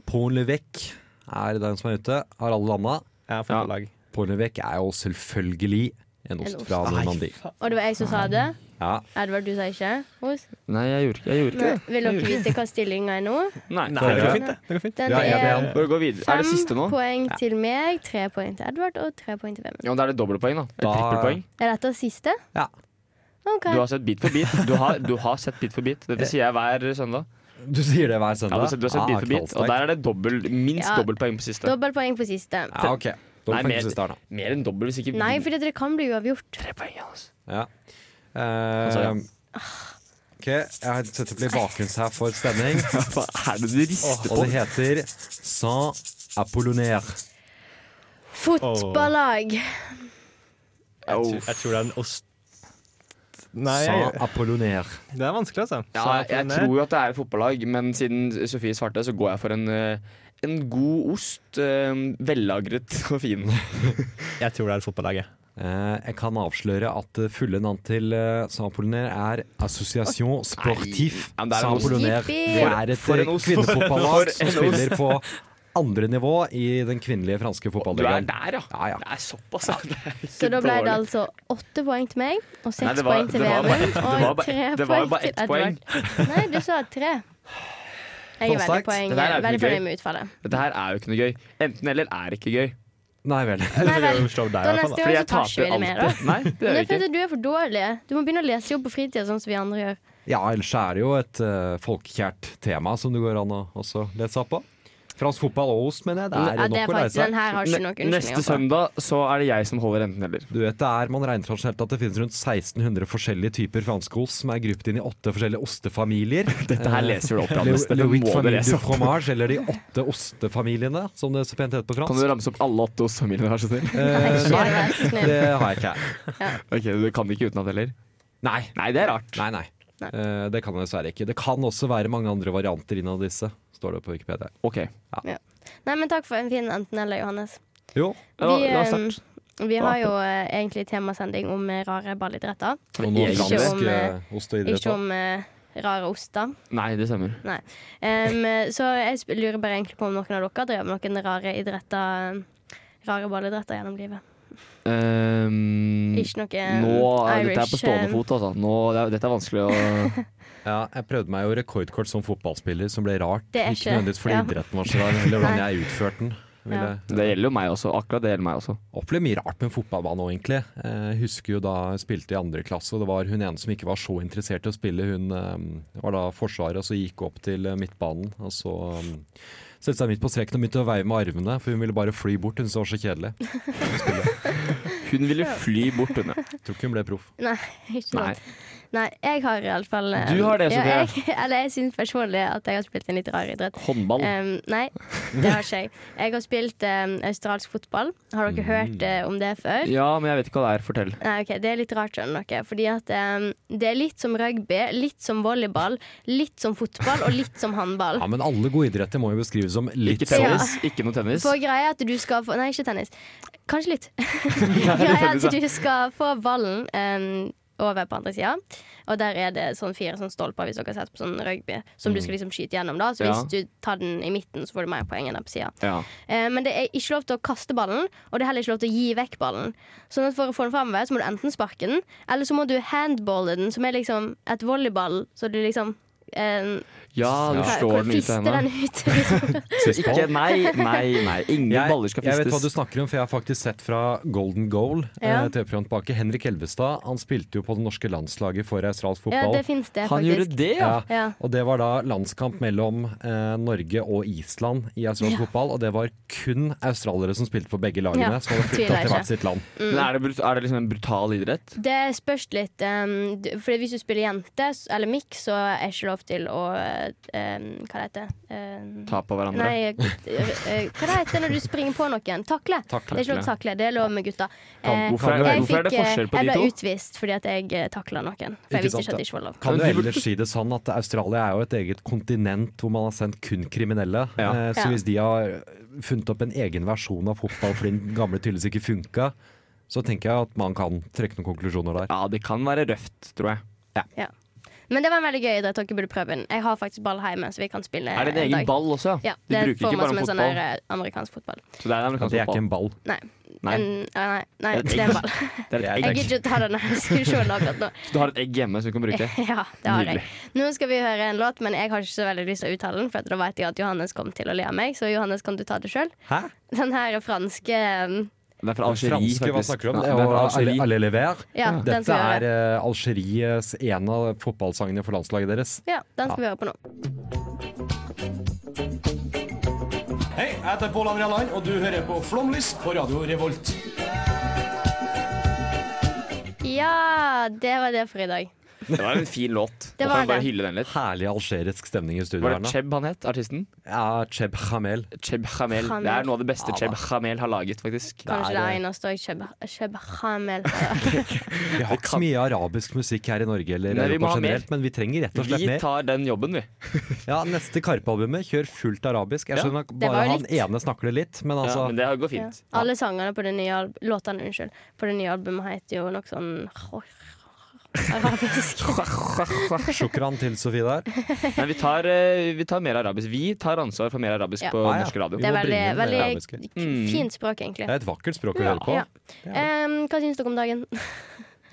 Speaker 6: Pont-l'Évêque er den som er ute. Har alle landa?
Speaker 12: Ja, fotballag.
Speaker 6: Pont-l'Évêque er jo selvfølgelig en ost fra Normandie.
Speaker 4: Og det var jeg som sa det?
Speaker 6: Ja.
Speaker 4: Edvard, du sa ikke ost?
Speaker 5: Nei, jeg gjorde ikke, jeg gjorde ikke
Speaker 4: Men
Speaker 5: det.
Speaker 4: Vil
Speaker 5: Jeg
Speaker 4: dere
Speaker 5: gjorde ikke
Speaker 4: vite hva stillinga er nå?
Speaker 5: Nei,
Speaker 12: Nei, det går fint, det. Det går fint.
Speaker 4: Den
Speaker 5: Ja, ja,
Speaker 4: er
Speaker 5: det er- Bare gå videre. Er det siste nå?
Speaker 4: fem poeng til meg, tre poeng til Edvard og tre poeng til hvem?
Speaker 5: Ja, men Da er det dobbeltpoeng, da. Eller
Speaker 6: Da-
Speaker 5: trippelpoeng.
Speaker 4: Er dette siste?
Speaker 6: Ja.
Speaker 4: OK.
Speaker 5: Du har sett bit for bit. Du har, du har sett bit for bit. Dette sier jeg hver søndag.
Speaker 6: Du sier det hver
Speaker 5: Ja, du
Speaker 6: søndag? Ah,
Speaker 5: har sett, du har sett bit for bit, og der er det dobbel, minst
Speaker 4: Ja.
Speaker 5: dobbeltpoeng på siste.
Speaker 4: Dobbeltpoeng på siste.
Speaker 6: Ja, ok.
Speaker 5: Nei,
Speaker 6: Dobbeltpoeng på
Speaker 5: mer,
Speaker 6: siste her, da.
Speaker 5: mer enn dobbel hvis ikke
Speaker 4: Nei, for det kan bli uavgjort.
Speaker 6: Ja.
Speaker 5: sa ja.
Speaker 6: Eh, ok, jeg har sett opp litt bakgrunns her for spenning.
Speaker 5: Hva er det du rister
Speaker 6: Og det heter Saint Apollinaire.
Speaker 4: Fotballag.
Speaker 12: Jeg, tror, jeg tror det er en ost. Nei,
Speaker 6: Saint Apollinaire.
Speaker 12: det er vanskelig, altså.
Speaker 5: Ja,
Speaker 12: Sa jeg
Speaker 5: jeg
Speaker 12: for
Speaker 5: tror
Speaker 12: den
Speaker 5: jo at det er fotballag, men siden Sofie svarte, så går jeg for en, eh, en god ost. eh, Vellagret og fin.
Speaker 12: her? Jeg tror det er et fotballag, jeg.
Speaker 6: Eh, jeg kan avsløre at det fulle navn til eh, Saint Apollinaire er Association Sportif
Speaker 5: Nei, men det er en
Speaker 6: Saint
Speaker 5: ost.
Speaker 6: Apollinaire. Det
Speaker 5: For-
Speaker 6: er et
Speaker 5: for en
Speaker 6: eh,
Speaker 5: ost.
Speaker 6: kvinnefotballag
Speaker 5: For en
Speaker 6: som
Speaker 5: ost.
Speaker 6: spiller på andre nivå i den kvinnelige franske
Speaker 5: Du er
Speaker 6: fotballigaen.
Speaker 5: der, ja.
Speaker 6: Ja, ja.
Speaker 5: Det er såpass. ja. Det er ikke
Speaker 4: Så da ble det
Speaker 5: dårlig.
Speaker 4: altså åtte poeng til meg, og
Speaker 5: Nei,
Speaker 4: seks
Speaker 5: det var-
Speaker 4: poeng til
Speaker 5: det var bare-
Speaker 4: Vemund,
Speaker 5: det var
Speaker 4: og
Speaker 5: bare-
Speaker 4: altså tre
Speaker 5: det var
Speaker 4: poeng
Speaker 5: jo bare
Speaker 4: til
Speaker 5: ett poeng.
Speaker 4: Edvard. Nei, du sa tre. Jeg er veldig,
Speaker 5: Sterkt.
Speaker 4: poeng,
Speaker 5: Det der er jo
Speaker 4: veldig
Speaker 5: ikke
Speaker 4: fornøyd
Speaker 5: gøy.
Speaker 4: med utfallet.
Speaker 5: Dette her er jo ikke noe gøy. Enten eller er ikke gøy.
Speaker 6: Nei vel.
Speaker 4: Nei vel. Da neste gang så toucher vi det altså mer, da.
Speaker 5: Nei, det
Speaker 4: Men det er
Speaker 5: gjør vi
Speaker 4: fordi
Speaker 5: ikke.
Speaker 4: du er for dårlig. Du må begynne å lese jobb på fritida, sånn som vi andre gjør.
Speaker 6: Ja, ellers er det jo et eh, folkekjært tema som det går an å også lese opp på. Fransk fotball og ost, mener jeg. Det er
Speaker 4: Ja, det er
Speaker 6: nok å
Speaker 4: faktisk
Speaker 6: reise.
Speaker 4: den her har ikke noen altså.
Speaker 5: Neste
Speaker 4: unnskyldninger for.
Speaker 5: søndag så er det jeg som holder enten eller.
Speaker 6: Du vet det er, Man regner tradisjonelt at det finnes rundt 1600 forskjellige typer franskost som er gruppet inn i åtte forskjellige ostefamilier.
Speaker 5: Dette her leser du opp,
Speaker 6: Le,
Speaker 5: Johannes. Dette
Speaker 6: Le
Speaker 5: må
Speaker 6: Huit
Speaker 5: du
Speaker 6: Famille
Speaker 5: lese
Speaker 6: du
Speaker 5: opp.
Speaker 6: Fromage, eller de åtte ostefamiliene, som det så pent heter på
Speaker 5: Kan
Speaker 6: fransk.
Speaker 5: du ramse opp alle åtte ostefamiliene, vær så snill?
Speaker 6: Eh, nei,
Speaker 4: vær så snill.
Speaker 6: det har jeg ikke.
Speaker 5: Ok, Du kan det ikke utenat heller?
Speaker 6: Nei.
Speaker 5: Nei, det er rart.
Speaker 6: Nei, nei. Eh, det kan jeg dessverre ikke. Det kan også være mange andre varianter innad disse, står det på Wikipedia.
Speaker 5: Ok.
Speaker 4: Ja. Nei, men takk for en fin enten-eller, Johannes.
Speaker 6: Jo,
Speaker 4: Vi, eh, vi har jo eh, egentlig temasending om eh, rare balidretter.
Speaker 6: Og nå
Speaker 4: Ikke
Speaker 6: fransk
Speaker 4: om, eh,
Speaker 6: eh, ost og idrett.
Speaker 4: Ikke
Speaker 6: da.
Speaker 4: om eh, rare oster.
Speaker 5: Nei, det stemmer.
Speaker 4: Nei. Em, eh, så jeg sp- lurer bare egentlig på om noen av dere drev med noen rare idretter Rare ballidretter gjennom livet.
Speaker 5: Ehm,
Speaker 4: Ikke noe
Speaker 5: nå, Dette er
Speaker 4: eh, Irish,
Speaker 5: på stående
Speaker 4: eh,
Speaker 5: fot, altså. Nå, det er, dette er vanskelig å
Speaker 6: Ja, jeg prøvde meg jo rekordkort som fotballspiller, som ble rart.
Speaker 4: Det er
Speaker 6: Ikke
Speaker 4: ikke-
Speaker 6: nødvendigvis fordi
Speaker 4: ja.
Speaker 6: idretten var så rar, eller hvordan jeg utførte den. Ville,
Speaker 4: Ja.
Speaker 5: Det gjelder jo meg også. Akkurat det gjelder meg også.
Speaker 6: opplevde mye rart med fotballbanen òg, egentlig. Jeg husker jo da jeg spilte i andre klasse, og det var hun ene som ikke var så interessert i å spille. Hun eh, var da forsvarer og så gikk opp til eh, midtbanen. Og så um, satte seg midt på streken og begynte å veive med armene, for hun ville bare fly bort. Hun syntes det var så kjedelig.
Speaker 5: Hun ville fly bort, hun. ja.
Speaker 6: Jeg tror ikke hun ble proff.
Speaker 4: Nei, ikke
Speaker 5: Nei.
Speaker 4: sant. Nei, jeg har iallfall
Speaker 5: Du har det, Sofie.
Speaker 4: eh, Jeg, eller jeg syns personlig at jeg har spilt en litt rar idrett.
Speaker 5: Håndball.
Speaker 4: Em, nei, det har ikke jeg. Jeg har spilt em, australsk fotball. Har
Speaker 5: Mm.
Speaker 4: dere hørt eh, om det før?
Speaker 5: Ja, men jeg vet ikke hva det er. Fortell.
Speaker 4: Nei, ok, Det er litt rart, skjønner dere. Fordi at em, det er litt som rugby, litt som volleyball, litt som fotball og litt som håndball.
Speaker 6: Ja, men alle gode idretter må jo beskrives som litt
Speaker 5: Ikke
Speaker 6: sånn.
Speaker 5: tennis. Ikke noe tennis.
Speaker 4: For greia er at du skal få Nei, ikke tennis. Kanskje litt.
Speaker 5: Nei, det er
Speaker 4: greia er
Speaker 5: tennis,
Speaker 4: at
Speaker 5: ja.
Speaker 4: du skal få ballen em, over på andre sida. Og der er det sånn fire sånn stolper, hvis dere har sett på sånn rugby, som du skal liksom skyte gjennom. da Så
Speaker 5: Mm. Ja.
Speaker 4: hvis du tar den i midten, så får du mer poeng enn den på sida.
Speaker 5: Ja.
Speaker 4: Eh, men det er ikke lov til å kaste ballen, og det er heller ikke lov til å gi vekk ballen. Sånn at for å få den framover, så må du enten sparke den, eller så må du handballe den, som er liksom et volleyball, så du liksom eh,
Speaker 5: Ja, du
Speaker 4: hva-
Speaker 5: slår den ut av
Speaker 4: fister
Speaker 5: hendene.
Speaker 4: den ut liksom? av hendene.
Speaker 5: Ikke, nei, nei, nei. Ingen
Speaker 6: jeg,
Speaker 5: baller skal
Speaker 6: Jeg vet hva du
Speaker 5: fistes.
Speaker 6: snakker om, for jeg har faktisk sett fra Golden Goal.
Speaker 4: Ja.
Speaker 6: eh, TV-program tilbake. Henrik Elvestad han spilte jo på det norske landslaget for
Speaker 4: Ja,
Speaker 6: australsk fotball.
Speaker 4: det finnes det, Han faktisk. gjorde det, ja? Ja.
Speaker 6: Og det var da landskamp mellom eh, Norge og Island i australsk
Speaker 4: Ja.
Speaker 6: fotball. Og det var kun australere som spilte for begge lagene,
Speaker 4: Ja,
Speaker 6: som hadde flytta
Speaker 4: tviler
Speaker 6: til
Speaker 4: ikke.
Speaker 6: hvert sitt land.
Speaker 4: Mm. Men er
Speaker 5: det, liksom en brutal idrett?
Speaker 4: Det spørs litt. Um, du- fordi hvis du spiller jente s- eller mix, så er ikke lov til å eh, um, Hva det heter um,
Speaker 5: Ta på hverandre.
Speaker 4: Nei, eh, hva det heter når du springer på noen? Takle.
Speaker 5: Takle.
Speaker 4: Det er ikke lov til å takle. Det er lov med gutta.
Speaker 5: Kan-
Speaker 4: Eh,
Speaker 5: hvorfor er-
Speaker 4: jeg
Speaker 5: hvorfor er det
Speaker 4: fikk, eh,
Speaker 5: forskjell på de
Speaker 4: Jeg ble
Speaker 5: to?
Speaker 4: utvist fordi at jeg takla noen. For jeg visste ikke at det ikke var lov.
Speaker 6: Kan du ellers si det sånn at Australia er jo et eget kontinent hvor man har sendt kun kriminelle. Eh, så
Speaker 4: Ja.
Speaker 6: hvis de har funnet opp en egen versjon av fotball fordi den gamle tydeligvis ikke funka, så tenker jeg at man kan trekke noen konklusjoner der.
Speaker 5: Ja, det kan være røft, tror jeg.
Speaker 4: Ja. Men det var en veldig gøy idrett. Dere burde prøve den. Jeg har faktisk ball hjemme, så vi kan spille.
Speaker 5: Er det
Speaker 4: en
Speaker 5: en egen
Speaker 4: dag.
Speaker 5: ball også?
Speaker 4: Ja,
Speaker 5: De
Speaker 4: det er
Speaker 5: bruker ikke
Speaker 4: formet
Speaker 5: bare
Speaker 4: som en
Speaker 5: en
Speaker 4: sånn
Speaker 5: fotball.
Speaker 4: her, eh, amerikansk fotball.
Speaker 5: Så det er, amerikansk
Speaker 6: det er ikke
Speaker 5: fotball.
Speaker 6: en ball.
Speaker 4: Nei.
Speaker 5: Nei.
Speaker 4: En, eh, nei, nei, nei,
Speaker 5: Det er et
Speaker 4: det er en
Speaker 5: egg.
Speaker 4: ball.
Speaker 5: Det er et egg.
Speaker 4: Jeg gidder ikke ta denne diskusjonen akkurat nå.
Speaker 5: Så du har et egg hjemme som du kan bruke?
Speaker 4: Ja, det har jeg.
Speaker 5: Nydelig.
Speaker 4: Nå skal vi høre en låt, men jeg har ikke så veldig lyst til å uttale den, for at da vet jeg at Johannes kom til å le av meg, så Johannes, kan du ta det sjøl?
Speaker 6: Hæ?
Speaker 4: Den her franske um,
Speaker 5: Den er fra Algerie,
Speaker 6: Franske, hva
Speaker 5: faktisk.
Speaker 6: snakker du om?
Speaker 5: Ja,
Speaker 6: Det
Speaker 5: den
Speaker 6: er
Speaker 5: er fra
Speaker 6: jo
Speaker 5: Algerie.
Speaker 6: Alle- Alle Lever.
Speaker 4: Ja, den
Speaker 6: Dette
Speaker 4: skal jeg
Speaker 6: er eh, Algeries en av fotballsangene for landslaget deres.
Speaker 4: Ja, den skal vi høre på nå.
Speaker 13: Hei, jeg heter Pål André Land, og du hører på Flomlys på Radio Revolt.
Speaker 4: Ja, det var det for i dag.
Speaker 5: Det var en fin låt.
Speaker 4: Det
Speaker 5: Kan
Speaker 4: var
Speaker 5: vi bare
Speaker 4: det.
Speaker 5: hylle den litt.
Speaker 6: Herlig algerisk stemning i studio
Speaker 5: Var
Speaker 6: her
Speaker 5: det
Speaker 6: nå.
Speaker 5: Cheb han het, artisten?
Speaker 6: Ja, Cheb Hamel.
Speaker 5: Cheb Hamel. Det
Speaker 4: Hamel.
Speaker 5: er noe av det beste
Speaker 6: Ja,
Speaker 5: Cheb
Speaker 6: da.
Speaker 5: Hamel har laget, faktisk.
Speaker 4: Kanskje det er eneste òg. Chebhamel.
Speaker 6: Vi har ikke så mye arabisk musikk her i Norge eller
Speaker 5: Nei, vi må
Speaker 6: Europa
Speaker 5: ha mer.
Speaker 6: generelt, men vi trenger rett og slett
Speaker 5: Vi
Speaker 6: mer.
Speaker 5: tar den jobben, vi.
Speaker 6: Ja, Neste Karpe-albumet kjør fullt arabisk. Jeg
Speaker 5: Ja.
Speaker 6: skjønner at
Speaker 4: Det var
Speaker 6: bare
Speaker 4: jo
Speaker 6: han
Speaker 4: litt-
Speaker 6: ene snakker det litt, men altså
Speaker 5: Ja, men det går fint.
Speaker 4: Ja. Alle sangene på det nye alb låtene unnskyld, på det nye albumet heter jo noe sånn arabisk.
Speaker 6: Sjokran til Sofie der.
Speaker 5: Nei, vi tar, eh, vi tar mer arabisk. Vi tar ansvar for mer arabisk
Speaker 4: Ja.
Speaker 5: på
Speaker 4: Ah, ja.
Speaker 5: norsk radio.
Speaker 4: Det er veldig, veldig
Speaker 6: arabiske.
Speaker 4: k- fint språk, egentlig.
Speaker 6: Det er et vakkert språk å
Speaker 4: Ja.
Speaker 6: høre på.
Speaker 4: Ja. Em, hva syns dere om dagen?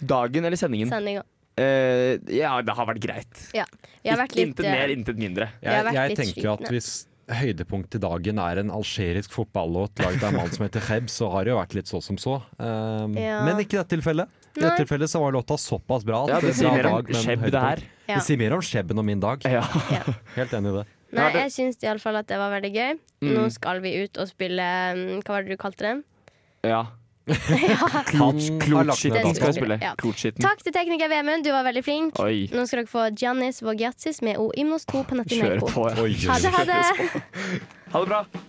Speaker 5: Dagen eller sendingen?
Speaker 4: Sendinga.
Speaker 5: Eh, ja, det har vært greit.
Speaker 4: Ja. Vi har vært litt
Speaker 5: intet mer,
Speaker 4: eh,
Speaker 5: intet mindre.
Speaker 4: Vi har vært
Speaker 6: Jeg, jeg
Speaker 4: litt
Speaker 6: tenker at
Speaker 4: slitne.
Speaker 6: hvis høydepunktet i dagen er en algerisk fotballåt laget av en mann som heter Kheb, så har det jo vært litt så som så. Um,
Speaker 4: Ja.
Speaker 6: Men ikke i dette tilfellet. I
Speaker 4: Nei.
Speaker 6: dette tilfellet så var låta såpass bra
Speaker 5: Ja, det
Speaker 6: ble
Speaker 5: sier mer om
Speaker 6: dag, men
Speaker 5: Cheb det
Speaker 6: høydepunkt.
Speaker 5: her.
Speaker 4: Ja.
Speaker 6: Det sier mer om Cheben og min dag. Helt enig i det.
Speaker 4: Nei, jeg syns iallfall at det var veldig gøy.
Speaker 6: Mm.
Speaker 4: Nå skal vi ut og spille mm, Hva var det du kalte den?
Speaker 5: Ja.
Speaker 6: har lagt ned
Speaker 5: Klotskitten
Speaker 6: datoen.
Speaker 5: skal vi spille.
Speaker 4: Ja.
Speaker 5: Klotskitten.
Speaker 4: Takk til tekniker Vemund, du var veldig flink.
Speaker 5: Oi.
Speaker 4: Nå skal dere få Giannis Vogiatsis med O Imnos 2 på
Speaker 5: Kjøre
Speaker 4: Natineko.
Speaker 5: på.
Speaker 4: Ha det, ha det!
Speaker 5: Ha det bra.